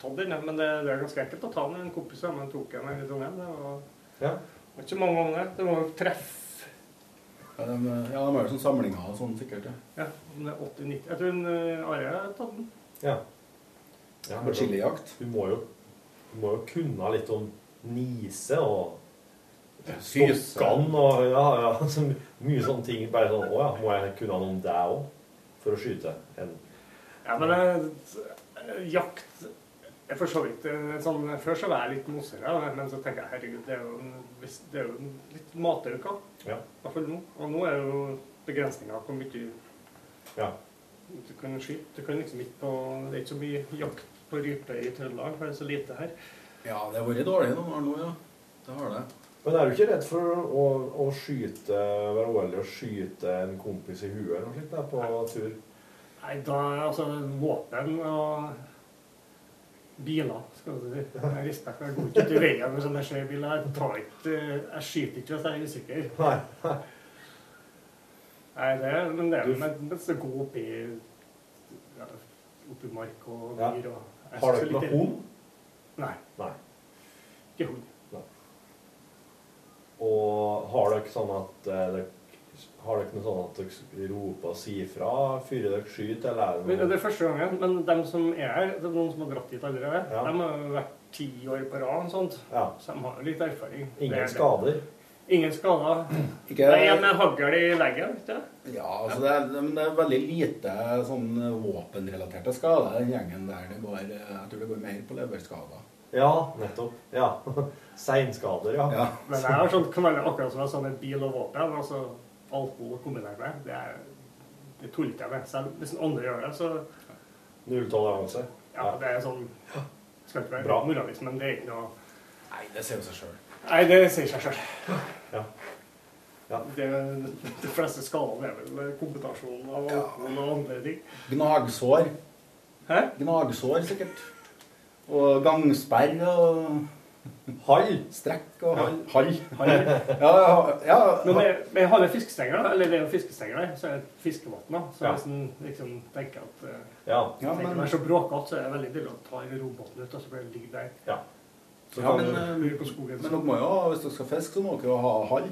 M: ta den, ja. men det, det er ganske enkelt å ta den. En kompis av meg tok den her i Trondheim. Det var,
C: Ja.
M: det var ikke mange ganger. Det var jo treff.
E: Ja, de, ja, de har jo sånn samlinger og sånn, sikkert. Ja.
M: Ja, om det er 80-90 Jeg tror en eh, Are har tatt den.
C: Ja. ja men
E: Chilijakt.
C: Du må jo, du må jo kunne litt om nise og
E: Fyse.
C: Stokkan og ja, ja, <laughs> så mye sånne ting. Bare sånn Å ja, må jeg kunne noe om deg òg? For å skyte en
M: Ja, men eh, jakt jeg for så vidt, eh, sånn, Før så var jeg litt mosere, da, men så tenker jeg herregud, det er jo, en, viss- det er jo en litt matauka.
C: Ja.
M: I hvert fall nå. Og nå er jo begrensninga hvor mye
C: Ja.
M: du kan skyte. Du kan liksom ikke på, Det er ikke så mye jakt på rype i Trøndelag, for det er så lite her.
E: Ja, det har vært dårlig noen år nå, ja. Det har det.
C: Men er du ikke redd for å, å skyte være uheldig og skyte en kompis i huet eller noe slikt da, på tur?
M: Nei, da altså våpen og biler, skal du si. Jeg rister for jeg går ikke ut i veien med sånne skjeve biler. Jeg, tar ikke, jeg skyter ikke hvis jeg er usikker.
C: Nei.
M: Nei, det, er- men det er men, men så gå opp i, ja, opp i mark og
C: Ja.
M: dyr og jeg
C: Har
M: synes det
C: dere
M: er
C: noe
M: litt-
C: hund?
M: Nei.
C: Nei.
M: Ikke hund.
C: Og har dere sånn at eh, dere, Har dere noe sånn at dere roper og sier fra før dere skyter, eller
M: Men Det
C: er det noe
M: er første gangen, men de som er her, det er noen som har dratt hit allerede,
C: Ja.
M: de har jo vært ti år på rad, og sånt.
C: Ja.
M: så de har jo litt erfaring.
C: Ingen
M: Det er det.
C: skader?
M: Ingen skader.
E: Ikke-
M: Det er en med hagl i leggen, vet du.
E: Ja, altså det er, men det er veldig lite sånn våpenrelaterte skader i den gjengen der det går eh, Jeg tror det går mer på leverskader.
C: Ja, nettopp. Ja. <laughs> Seinskader, ja.
M: Men jeg har
C: <laughs>
M: sånn, kan være akkurat som jeg sa med bil og våpen. altså Alkohol kombinert med det, er, det tuller ikke jeg med. Selv hvis en andre gjør det, så
C: Null toleranse.
M: Ja, det er sånn Skal ikke være
C: Bra.
M: moralist, men det er ikke noe
E: Nei, det sier jo seg sjøl.
M: Nei, det sier seg sjøl.
C: Ja.
M: Det, de fleste skadene er vel kompetasjon av alkohol og andre ting.
E: Gnagsår.
M: Hæ?
E: Gnagsår, sikkert. Og gangsperr og
C: Hall.
E: Strekk og hall.
M: Hall.
E: Ja, ja, ja.
M: Men med, med halve fiskestenger, da, eller det er jo fiskestenger der, så er det fiskevann. da. Så
C: Ja.
M: hvis en liksom tenker at eh,
C: Ja.
M: tenker
C: Ja, men-
M: det er så bråkete, så er det veldig deilig å ta i robåten ut, og så blir det ligge der.
C: Ja.
M: Så
E: ja,
M: kan
E: men, eh,
M: du lure på
E: men
M: skogen.
E: dere må jo, hvis dere skal fiske, så må dere jo ha hall.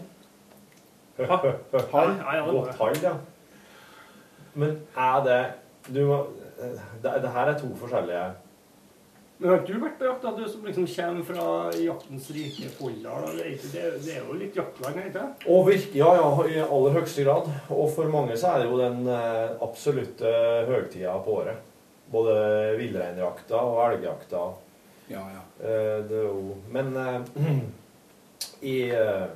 C: Hall. Godt hall, ja. Men er det Du må eh, det, det her er to forskjellige
M: Men har ikke du vært på jakt, da? Du som liksom kommer fra jaktens rike Folldal. og Det, er ikke- det, det er jo litt jaktland, er det ikke?
C: Og virke, ja, ja, i aller høyeste grad. Og for mange så er det jo den eh, absolutte høgtida på året. Både villreinjakta og elgjakta.
E: Ja, ja.
C: Eh, det er jo Men eh, <clears throat> i, eh,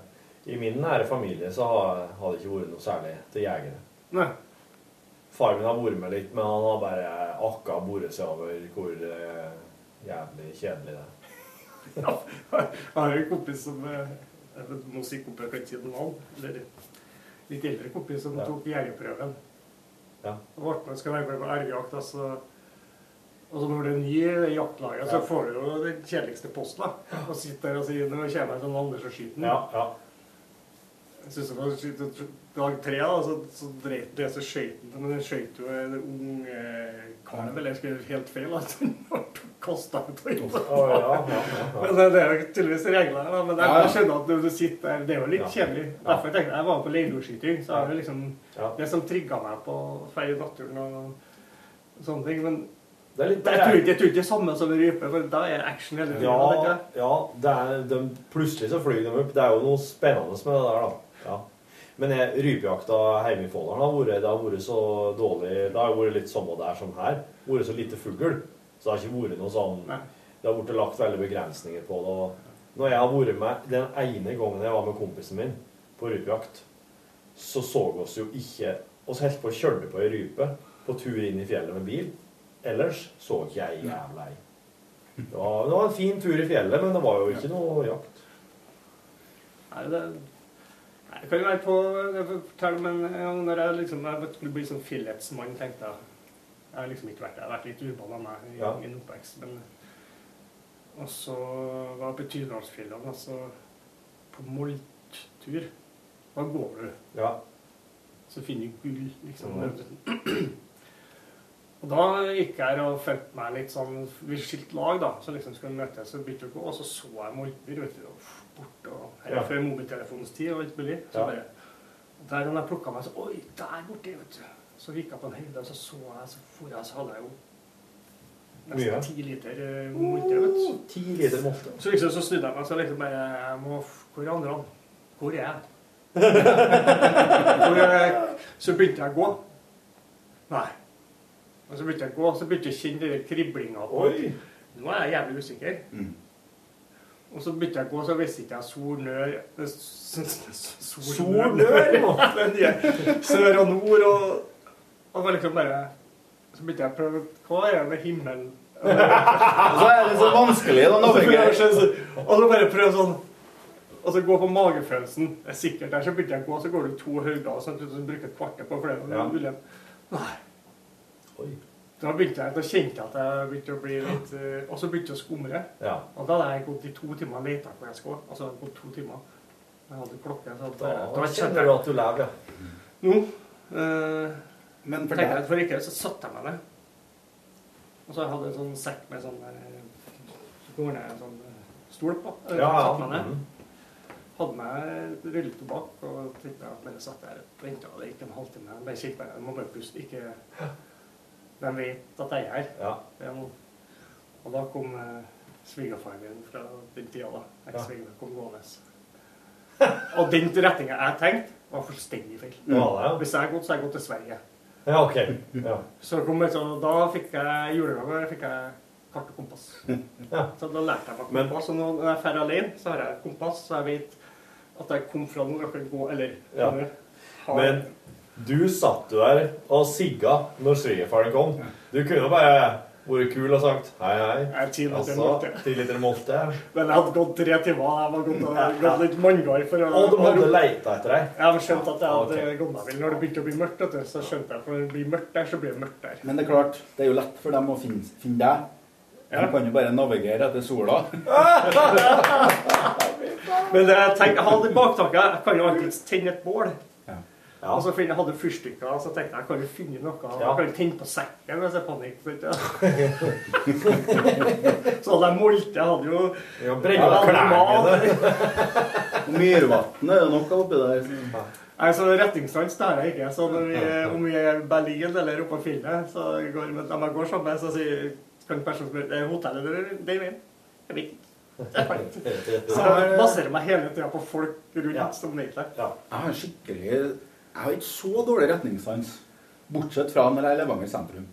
C: i min nære familie så har, har det ikke vært noe særlig til jegere.
M: Nei.
C: Far min har vært med litt, men han har bare akka boret seg over hvor eh, jævlig kjedelig det er.
M: Jeg har en kompis som eh, jeg vet, Må si kompis, jeg kan ikke si noe navn. Eller litt eldre kompis som tok jegerprøven.
C: Ja.
M: Og ble med skal være med på elgjakt. Og så, altså. og så når du er ny i jaktlaget, så
C: Ja.
M: får du jo den kjedeligste posten. da. Og sitter der og sier Nå kommer jeg til Anders og skyter den.
C: Ja, ja.
M: Jeg synes det var skyt- Dag tre da, så, så dreit det seg skøyten, men den skøyt jo en ung eh, kalv, eller jeg skrev helt feil, altså. Den ble kastet ut av hytta.
C: Å, ja, ja, ja, ja.
M: Men det, det er jo tydeligvis reglene, da, men det,
C: Ja, ja.
M: jeg skjønner at når du sitter der, det er jo litt
C: Ja.
M: kjedelig. Derfor tenkte jeg, jeg var på leirdorskyting, så er det liksom
C: Ja.
M: det som trigget meg på feil naturen og sånne ting, men
C: Det er litt-
M: jeg tror ikke jeg tror ikke det er samme som en rype, for da er det action hele tiden. vet
C: Ja,
M: du.
C: ja det er, de, plutselig så flyr de opp. Det er jo noe spennende med det der, da. Ja. Men jeg, rypejakta hjemme i Folldalen har vært- det har vært så dårlig Det har vært litt samme der som her. Vært så lite fugl. Så det har ikke vært noe sånn Det har blitt lagt veldig begrensninger på det. Og når jeg har vært med den ene gangen jeg var med kompisen min på rypejakt, så så vi oss jo ikke oss helt på å kjøre på ei rype på tur inn i fjellet med bil. Ellers så ikke jeg jævla ei. Det var, det var en fin tur i fjellet, men det var jo ikke noe jakt.
M: Nei, det Nei, det kan jo være på jeg får fortelle om en gang når jeg liksom jeg skulle bli sånn Philips-mann, tenkte jeg. Jeg har liksom ikke vært der. Jeg har vært litt urban av meg i
C: Ja.
M: min oppvekst. Men, og så var jeg på Tydalsfjellene, altså på molttur. Da går du.
C: Ja.
M: Så finner du gull, liksom.
C: Mhm.
M: <clears throat> Og da gikk jeg og følte meg litt sånn Vi skilte lag, da. Så liksom skulle vi møtes og begynte å gå, og så så jeg moltbyr, vet du. Og f- bort og Her
C: Ja.
M: er før mobiltelefonens tid og alt mulig. Så
C: Ja.
M: bare Der han jeg plukka meg, så Oi, der borte, vet du. Så gikk jeg på en høyde, og så så jeg, så for jeg, så hadde jeg jo
C: Mye.
M: nesten ti liter eh, molte, vet du.
C: Ti liter molte.
M: Så liksom så snudde jeg meg, så liksom bare jeg må, f- Hvor er andre? han? Hvor
C: <laughs>
M: er jeg? hvor er, så begynte jeg å gå. Nei. Og så begynte jeg å gå, og så begynte jeg å kjenne den kriblinga på
C: Oi. Mm.
M: Nå er jeg jævlig usikker. Og så begynte jeg å gå, så visste ikke jeg solnør eh,
C: Solnør,
M: <laughs>
C: ja.
M: Den nye Sør og nord og Og var liksom bare Så begynte jeg å prøve Hva er det med himmelen?
E: så er det så vanskelig, da,
M: Og så prøver jeg å
E: navigere.
M: skjønne- Og så bare prøve sånn Og så gå på magefølelsen. Det er sikkert der. Så begynte jeg å gå, så går du to hauger og sånn, så bruker jeg et kvarter på flere.
C: Ja.
M: Ja. Nei. Da begynte jeg, da kjente jeg at jeg begynte å bli litt eh, Og så begynte jeg å skumre.
C: Ja.
M: Og da hadde jeg gått i to timer og leta hvor jeg skulle. Altså jeg hadde gått to timer. Jeg hadde klokke. Så
C: Da,
M: da,
C: da kjenner du at du lever, ja.
M: Nå eh,
E: Men
C: for
M: tenkte
C: deg-
M: jeg at for ikke, så satte jeg meg ned. Og så hadde jeg en sånn sekk med sånn der eh, Så går ned en sånn eh, stol på.
C: Ja,
M: Eh,
C: ja.
M: Satte meg ned.
C: Mhm.
M: Hadde med rulletobakk og tenkte jeg at bare satt der og venta. Det gikk en halvtime. Jeg Bare kikket på det. Jeg må bare puste. Ikke De vet at jeg er her.
C: Ja.
M: Jeg må- Og da kom eh, svigerfaren min fra den tida, da. Eks-svigerfar kom gående. Og den retninga jeg tenkte, var fullstendig feil.
C: Ja, ja.
M: Hvis jeg hadde gått, så hadde jeg gått til Sverige.
C: Ja, OK. Ja.
M: sånn, Så kom jeg, så da fikk jeg julegave. Fikk jeg kart og kompass.
C: <laughs> Ja.
M: Så da lærte jeg meg
C: Men-
M: kompass. Og nå når jeg drar alene, så har jeg et kompass, så jeg vet at jeg kom fra noe jeg kan gå, eller
C: Ja.
M: eller har-
C: Men du satt jo der og sigga når svigerfaren kom. Du kunne jo bare vært kul og sagt hei, hei.
M: ti liter molte.
C: ti liter molte.
M: Men jeg hadde gått tre timer. Jeg var gått, jeg hadde gått litt manngard for å
C: Og de hadde leita etter deg.
M: Jeg hadde skjønt at jeg hadde gått meg vill når det begynte å bli mørkt. Vet du, så skjønte jeg at når det blir mørkt der, så blir det mørkt der.
E: Men det er klart, det er jo lett for dem å finne, finne deg. De kan jo bare navigere etter sola.
M: <laughs> Men eh, det jeg tenkte, jeg hadde i baktaket Jeg kan jo alltid tenne et bål. Og så finne, jeg hadde fyrstikker, og så tenkte jeg jeg kan jo finne noe.
C: Ja.
M: Jeg kan jo tenne på sekken hvis jeg panikker. <laughs> så hadde jeg molte. Jeg hadde jo
C: Ja,
E: brenne
M: <laughs>
E: opp Og Myrvatnet er jo nok oppi der. så-
M: Altså, retningssans det har jeg ikke. Så når vi, om vi er i Berlin eller oppe på fjellet, så går med, når man går sammen, så sier kan personen spørre det er hotellet eller det er min. Jeg vet ikke. Jeg kan
C: <laughs>
M: ikke. Så jeg baserer meg hele tida på folk rundt som vet det.
E: Jeg har skikkelig Jeg har ikke så dårlig retningssans. Bortsett fra når jeg er i Levanger sentrum.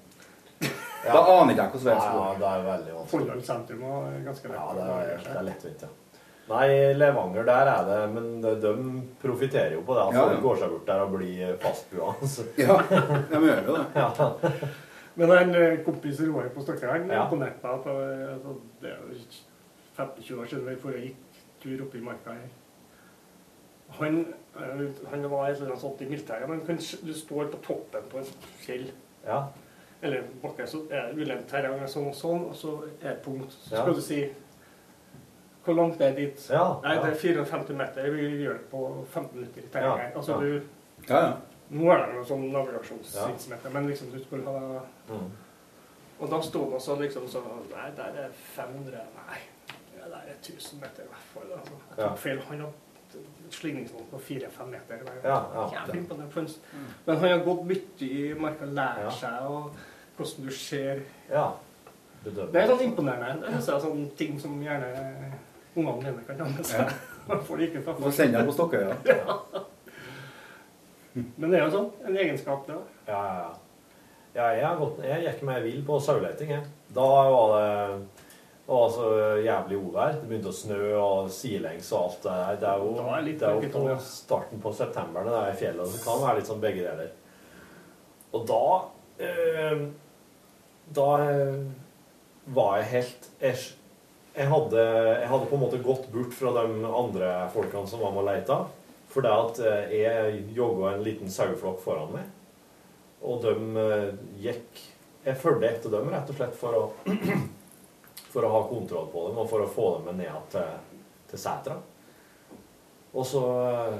E: Da aner ikke jeg hvordan veien skal
C: Ja,
E: gå.
C: det er veldig vanskelig.
M: Folldal sentrum er ganske lett.
C: Ja, det er, det er lettvint, ja. Nei, Levanger, der er det Men de, de profitterer jo på det. Altså,
M: Ja, ja.
C: De går seg bort der og blir fastboende. så-
E: de gjør
C: <laughs>
E: jo det.
M: Men en eh, kompis Roar på Stokker han
C: Ja.
M: imponerte meg. På, altså, det er jo 15-20 år siden vi forrige gikk tur oppe i marka her. Han, eh, han var et eller annet sånt i militæret, men kan, s- du står på toppen på et fjell.
C: Ja.
M: Eller en bakke, så er det ulendt terreng og sånn og sånn, og så er det et punkt. Så
C: Ja.
M: skal du si hvor langt er det dit?
C: Ja,
M: Nei,
C: ja.
M: det er 450 meter. Vi gjør det på 15 minutter i
C: Ja,
M: terrenget. Altså,
C: ja.
M: du...
C: Ja, ja.
M: Nå er det jo sånn
C: Ja.
M: navigasjonsvirksomhet, men liksom du skulle ha
C: Mm.
M: og da sto man sånn liksom sånn Nei, der er 500 Nei, ja, der er 1000 meter i hvert fall. Altså. Jeg
C: Ja.
M: tok feil. Han hadde slingringsmål på 4-5 meter. hver gang.
C: Ja, ja.
M: Jævlig imponerende for en s-
E: Mm.
M: Men han har gått mye i marka og lært seg og hvordan du ser
C: Ja. Bedømmer.
M: Det er sånn imponerende. Det synes jeg er sånn ting som gjerne ungene mine kan ha med seg. Får de ikke fra
E: Du får sende dem på Stokkøya.
M: Ja. Men det er jo sånn. En egenskap, det. da.
C: Ja, ja, ja. ja jeg, har gått, jeg gikk meg vill på saueleting. jeg. Da var det det var så jævlig ovær. Det begynte å snø og sidelengs og alt det der. Det er jo,
M: litt
C: det er jo
M: mørket
C: på
M: om, ja.
C: starten på september når det er i fjellet, så det kan være litt sånn begge deler. Og da eh, Da eh, var jeg helt Jeg, s- jeg, hadde, jeg hadde på en måte gått bort fra de andre folkene som var med og leita. For det at eh, jeg jogga en liten saueflokk foran meg. Og de eh, gikk Jeg fulgte etter dem rett og slett for å, <clears throat> for å ha kontroll på dem og for å få dem med ned til, til setra. Og så eh,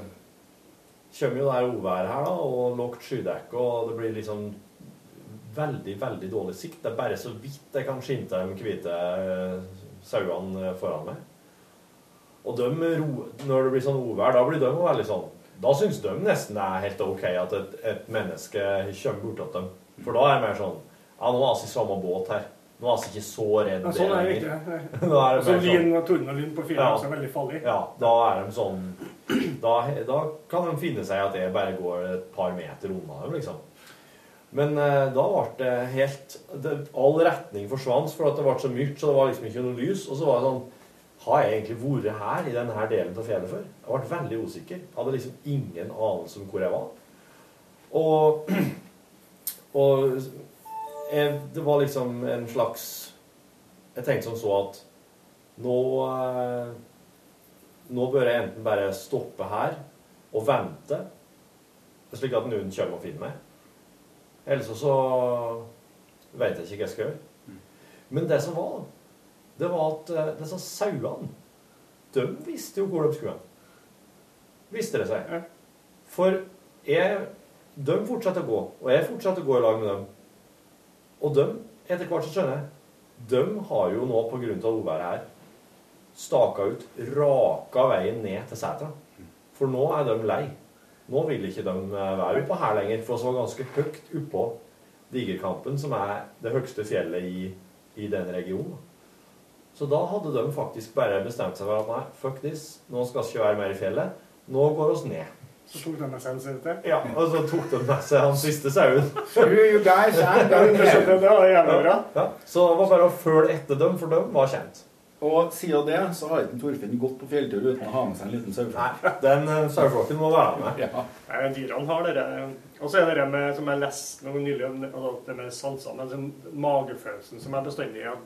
C: kommer jo det her uværet her, da, og lågt skydekke, og det blir liksom veldig, veldig dårlig sikt. Det er bare så vidt jeg kan skimte de hvite eh, sauene eh, foran meg. Og de ro, når det blir sånn ovær, da blir de jo veldig sånn Da syns de nesten det er helt OK at et, et menneske kommer bort til dem. For da er det mer sånn Ja, nå er vi i samme båt her. Nå er vi ikke så redd
M: Men sånn er det
C: lenger.
M: ikke.
C: <laughs> Da er det
M: Altså,
C: mer sånn-
M: lyn og torden og lyn på altså. fjellet
C: Ja.
M: er også veldig farlig.
C: Ja, da er de sånn <clears throat> da, da kan de finne seg at jeg bare går et par meter unna dem, liksom. Men eh, da ble det helt det, All retning forsvant, for at det ble så mørkt, så det var liksom ikke noe lys. Og så var det sånn Har jeg egentlig vært her, i denne her delen av fjellet, før? Jeg ble veldig usikker. Jeg hadde liksom ingen anelse om hvor jeg var. Og, <clears throat> og jeg, det var liksom en slags Jeg tenkte som så at nå eh, nå bør jeg enten bare stoppe her og vente, slik at noen kommer og finner meg. Ellers så vet jeg ikke hva jeg skal gjøre. Men det som var, det var at eh, disse sauene, de visste jo hvor de skulle hen. Visste det seg. For jeg, de fortsatte å gå, og jeg fortsatte å gå i lag med dem. Og de, etter hvert så skjønner jeg, de har jo nå, på grunn av uværet her, staka ut raka veien ned til setra. For nå er de lei. Nå vil ikke de eh, være oppå her lenger, for så ganske høyt oppå Digerkampen, som er det høyeste fjellet i, i den regionen. Så da hadde de faktisk bare bestemt seg for at nei, fuck this, nå skal vi ikke være mer i fjellet. Nå går oss ned.
M: Så tok de med seg en saute.
C: Ja, og så tok de med seg han siste
M: <laughs>
C: sauen.
M: you guys are going to- Så det var jævlig bra.
C: Ja, så det var bare å følge etter dem, for dem var kjent.
E: Og siden det så har ikke Torfinn gått på fjelltur uten å ha med seg en liten saueflokk.
C: Den eh, saueflokken må være med.
M: Nei, Dyrene har det der. Og så er det det med, som jeg leste noe nylig, om det- altså det med sansene, den magefølelsen som jeg bestandig har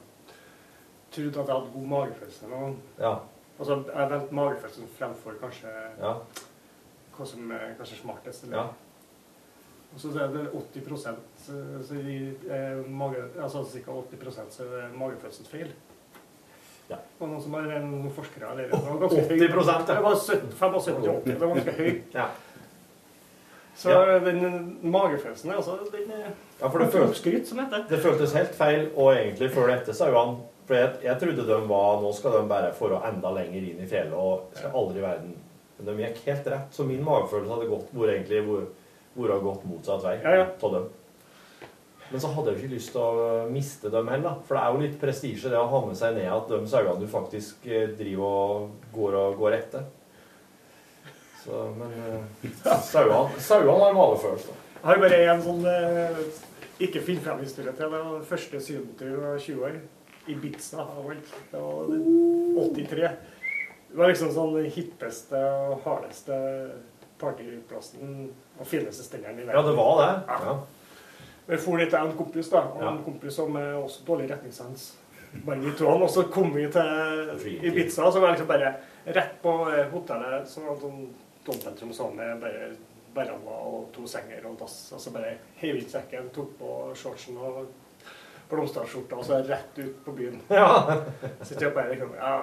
M: trodd at jeg hadde god magefølelse nå.
C: Ja.
M: Altså, jeg har valgt magefølelsen fremfor kanskje
C: Ja.
M: hva som er kanskje smartest. Eller.
C: Ja.
M: Og så er det 80 eh, så i, eh, mage, altså ca. 80 så er det magefølelsen feil. Og noen som er en forskere eller det var ganske høyt.
C: 80%, ja.
M: Det var 75-80. Det var ganske høyt.
C: Ja.
M: Så den magefølelsen er altså den er
C: Ja, for det
M: <laughs>
C: føltes,
M: oppskrytt, som heter.
C: det føltes helt feil å egentlig følge etter sauene. For jeg, jeg trodde de var Nå skal de bare for å enda lenger inn i fjellet og skal aldri i verden. Men de gikk helt rett, så min magefølelse hadde gått hvor egentlig hvor, hvor har gått motsatt vei av dem. Men så hadde jeg jo ikke lyst til å miste dem heller. For det er jo litt prestisje det å ha med seg ned at de sauene du faktisk eh, driver og går og går etter. Så, men eh, sauene sauene har magefølelse.
M: Jeg har bare en sånn eh, ikke finn frem historie til. Det var første sydentur jeg var 20 år. Ibiza. og alt. Det var 83. Det var liksom sånn den hippeste og hardeste partyplassen og fineste stengeren i verden.
C: Ja, det var det. Ja.
M: Vi for dit til en kompis, da. Og en kompis som er også dårlig retningssans. Bare vi to. Og så kom vi til Ibiza, så var det liksom bare rett på eh, hotellet. Så var det sånn dobbeltrom sammen med bare veranda og to senger og dass. Og så bare heiv ut sekken, tok på shortsen og blomsterskjorta, og så rett ut på byen.
C: <laughs> Ja.
M: <laughs> så jeg bare liksom, ja.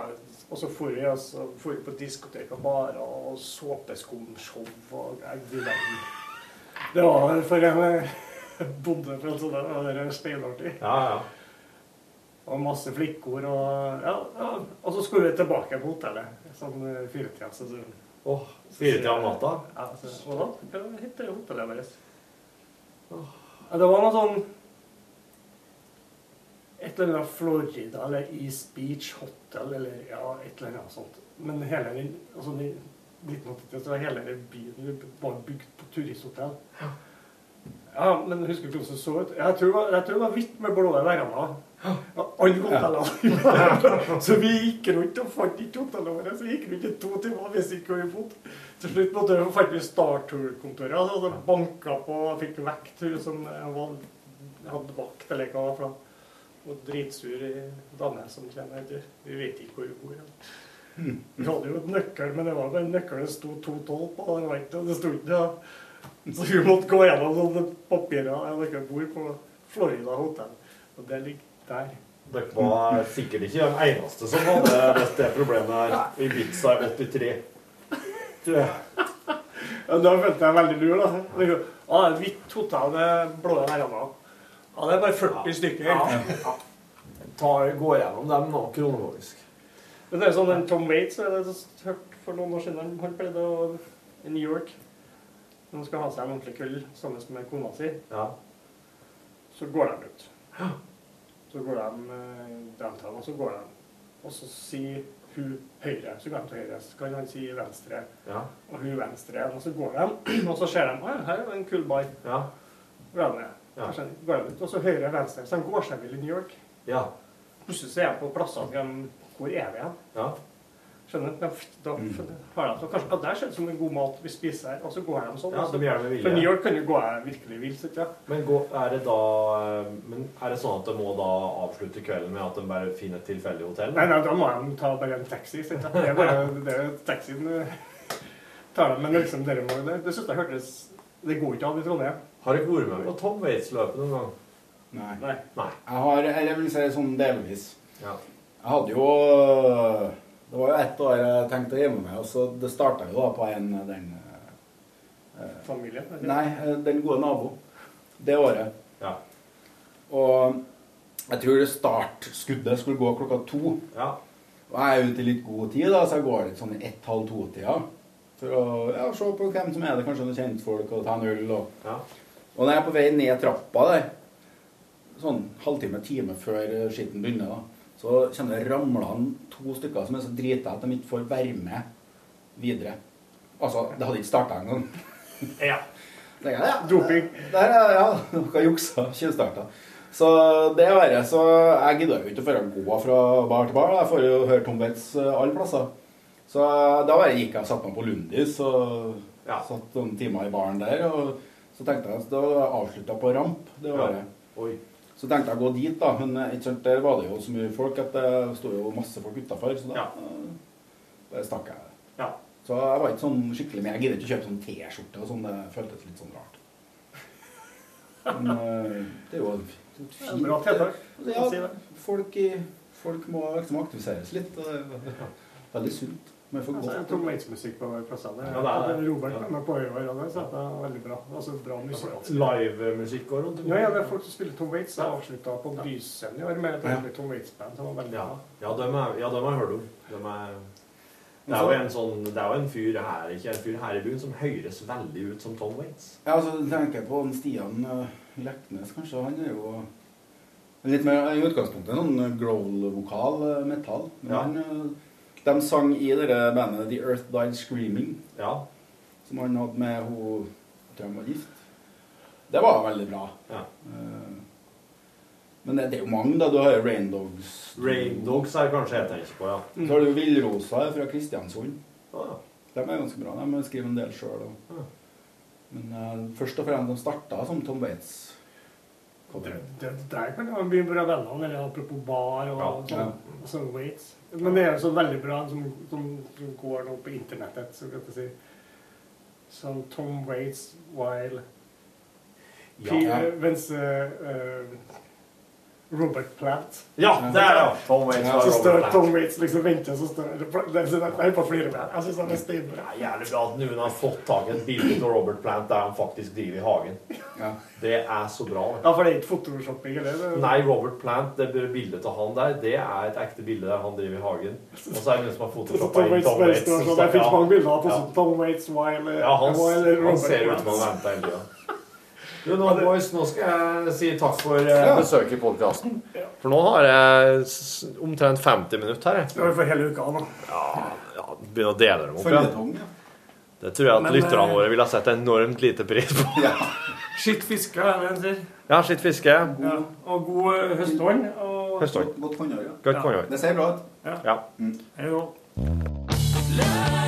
M: Og så for vi, og så for vi på diskotek og barer og såpeskumshow og jeg, du verden. Det var for en eh, <laughs> bonde fra en sånn der, og det er steinartig.
C: Ja, ja.
M: Og masse flikkord og ja, ja. Og så skulle vi tilbake på hotellet. Sånn eh, firetida. Så, så,
C: Åh, firetida om natta?
M: Ja, så, og da hva heter det hotellet vårt. Ja, det var noe sånn Et eller annet Florida eller East Beach Hotel eller ja, et eller annet sånt. Men hele den altså, i 1983 så var hele den byen bare bygd på turisthotell. Ja, men husker ikke hvordan det så ut. Jeg tror, det var- jeg tror det var hvitt med blå verandaer. Og Alle hotellene. <laughs> så vi gikk rundt og fant ikke hotellene våre. Så vi gikk rundt i to timer og visste ikke hvor vi bodde. Til slutt måtte vi fant vi Star Tour-kontoret. og så hadde banka altså, på og fikk vekt hun som var, hadde vakt eller hva. For hun var dritsur i dame som kommer etter. Vi vet ikke hvor hun bor. eller. Vi hadde jo en nøkkel, men det var bare en nøkkel det sto 212 på. og Det, var ikke, det sto ikke noe. Så vi måtte gå gjennom sånne papirer. Jeg dere bor på Florida Hotel, og det ligger der.
C: Dere var sikkert ikke den eneste som hadde løst det problemet her i Ibiza i 83. Tror jeg.
M: Ja, Da følte jeg meg veldig lur. da. Og jeg, ah, det er Hvitt hotell med blå verandaer. Ja, det er bare 40 stykker.
C: Ta, gå gjennom dem nå, kronologisk.
M: Men det er sånn en Tom Waits jeg har hørt for noen år siden. Han pleide å i New York. Når han skal ha seg en ordentlig kull sammen med kona si, så går de ut. Så går de eh, downtown, og så går de. Og så sier hun høyre, så går de til høyre. Så kan han si venstre,
C: Ja.
M: og hun venstre. Og så går de, <clears throat> og så ser de «Å, her er jo en kul bar.
C: Ja.
M: Går de ned. Så Går de ut, og så høyre, venstre. Så de går seg vill i New York.
C: Ja.
M: Plutselig så er de på plassene de Hvor er vi hen?
C: Ja. Mm.
M: Skjønner du? Da har de så kanskje, ja, der ser det ut som en god mat vi spiser her, og så går de sånn.
C: Ja,
M: altså.
C: de gjør det med vilje.
M: For New York kan jo gå her virkelig vilt. ikke sant?
C: Men, gå, er det da, eh, men er det sånn at de må da avslutte kvelden med at de bare finner et tilfeldig hotell?
M: Nei, nei, da må de ta bare en taxi. ikke sant? Det er bare
C: <laughs>
M: det er taxien eh, tar dem, men liksom dere må Det, det synes jeg hørtes Det går ikke an i Trondheim.
C: Har dere vært med på Tom Waits-løpet noen gang?
E: Nei.
M: Nei.
E: Jeg har, eller jeg vil si sånn delvis.
C: Ja.
E: Jeg hadde jo Det var jo ett år jeg tenkte å gjemme meg, og så det starta jo da på en den eh,
M: Familien? eller?
E: Nei, eh, den gode nabo. Det året.
C: Ja.
E: Og jeg tror startskuddet skulle gå klokka to.
C: Ja.
E: Og jeg er ute i litt god tid, da, så jeg går litt sånn i ett-halv to-tida. For å ja, se på hvem som er det, kanskje noen kjentfolk, og ta en øl. Og,
C: Ja.
E: og når jeg er på vei ned trappa der, sånn halvtime-time før eh, skitten begynner, da, så kommer det ramlende to stykker som er så drita at de ikke får være med videre. Altså, det hadde ikke starta engang.
M: Ja.
E: <laughs> Det er, ja.
M: Doping.
E: Der, ja, ja. Noe juksa. Tjuvstarta. Så det er verre. Så jeg gidder jo ikke å føre gå fra bar til bar. da. Jeg får jo høre Tom Waits eh, alle plasser. Så eh, da bare gikk jeg og satte meg på Lundis og satt noen timer i baren der. Og så tenkte jeg at da avslutta på ramp. Det var det. Så tenkte jeg å gå dit, da. Men eh, ikke sant, der var det jo så mye folk at det sto jo masse folk utafor. Så da eh, bare stakk jeg.
M: Ja.
E: Så jeg var ikke sånn skikkelig med. Jeg gidder ikke å kjøpe sånn T-skjorte og sånn. Det føltes litt sånn
M: <laughs>
E: rart. Men eh, det er jo et et
M: Det er
E: fint
M: bra tiltak.
E: Ja,
M: Si det.
E: folk, i, folk må liksom aktiviseres litt. Og det er veldig sunt. Men for
M: Altså,
E: godt.
M: jeg tok Mates-musikk på plassene.
E: Ja, det er det.
M: Robert var med på i år, og det satt jeg veldig bra. Altså, bra musikk.
C: Livemusikk går rundt?
M: Ja, ja, det er folk som spiller Tom Waits. Jeg avslutta på Byscenen i år med et
C: Ja.
M: ordentlig Tom Waits-band. som var veldig
C: Ja,
M: bra.
C: ja dem har ja, dem har jeg hørt om. Dem er, det er jo en sånn Det er jo en fyr her ikke en fyr her i byen som høres veldig ut som Tom Waits.
E: Ja, altså, tenker jeg på han Stian eh, Leknes, kanskje. Han er jo litt mer i utgangspunktet noen eh, growl-vokal, eh, metal. Men
C: Ja.
E: han, eh, de sang i det bandet The Earth Died Screaming, som han hadde med hun Jeg tror han var gift. Det var veldig bra. Eh, Men det, det er jo mange, da. Du har jo Rain Dogs.
C: Rain Dogs er kanskje jeg tenker på, ja.
E: Mm. Så har du Villrosa fra Kristiansund. De er ganske bra. De skriver en del sjøl. Men eh, først og fremst de starta som Tom Waits.
M: Det, det der kan man bli bra venner med, eller apropos bar og sånn. sånn Waits. Men det er jo så veldig bra som, som, som går nå på internettet, så kan jeg si. Som Tom Waits while
C: Ja.
M: P- eh, Mens eh, eh, Robert Plant
C: Ja, det er det. Tom Waits while
M: Så
C: Robert
M: står
C: Plant.
M: Tom Waits liksom venter, så står det det- det- Jeg holder på å flire med Jeg synes han er steinbra.
C: Det er jævlig bra at noen har fått tak i et bilde av Robert Plant der han faktisk driver i hagen. Det er så bra. det.
M: Ja, for det er ikke photoshopping, eller? Det-
C: Nei, Robert Plant, det bildet av han der, det er et ekte bilde der han driver i hagen. Og så er det noen
M: <laughs>
C: som har
M: Tom
C: photoshoppet inn
M: Waits
C: Tom
M: bare
C: Waits.
M: står
C: så
M: sånn. Jeg
C: står-
M: fikk
C: ja.
M: mange bilder av
C: Ja.
M: sånn Tom Waits while
C: Ja, han,
M: while
C: han
M: Robert
C: ser ut som han
M: Plant.
C: venter hele tida. Du, nå, boys, nå skal jeg si takk for eh,
M: Ja.
C: besøket i podkasten. For nå har jeg s- omtrent 50 minutter her.
M: Det var for hele uka nå.
C: Ja, ja Begynne å dele dem opp.
E: Føljetong,
C: Ja. Det tror jeg at
M: Men,
C: lytterne
M: eh,
C: våre ville ha sett enormt lite pris på.
P: Skitt fiske, er det en sier.
C: Ja, sitt fiske.
P: Ja.
M: Mm.
P: Og god eh, høsthånd. Og...
C: Høsthånd.
E: Godt håndår, ja. Mm.
C: Godt håndår.
E: Det ser bra ut.
P: Ja.
C: Ja.
P: Hei da.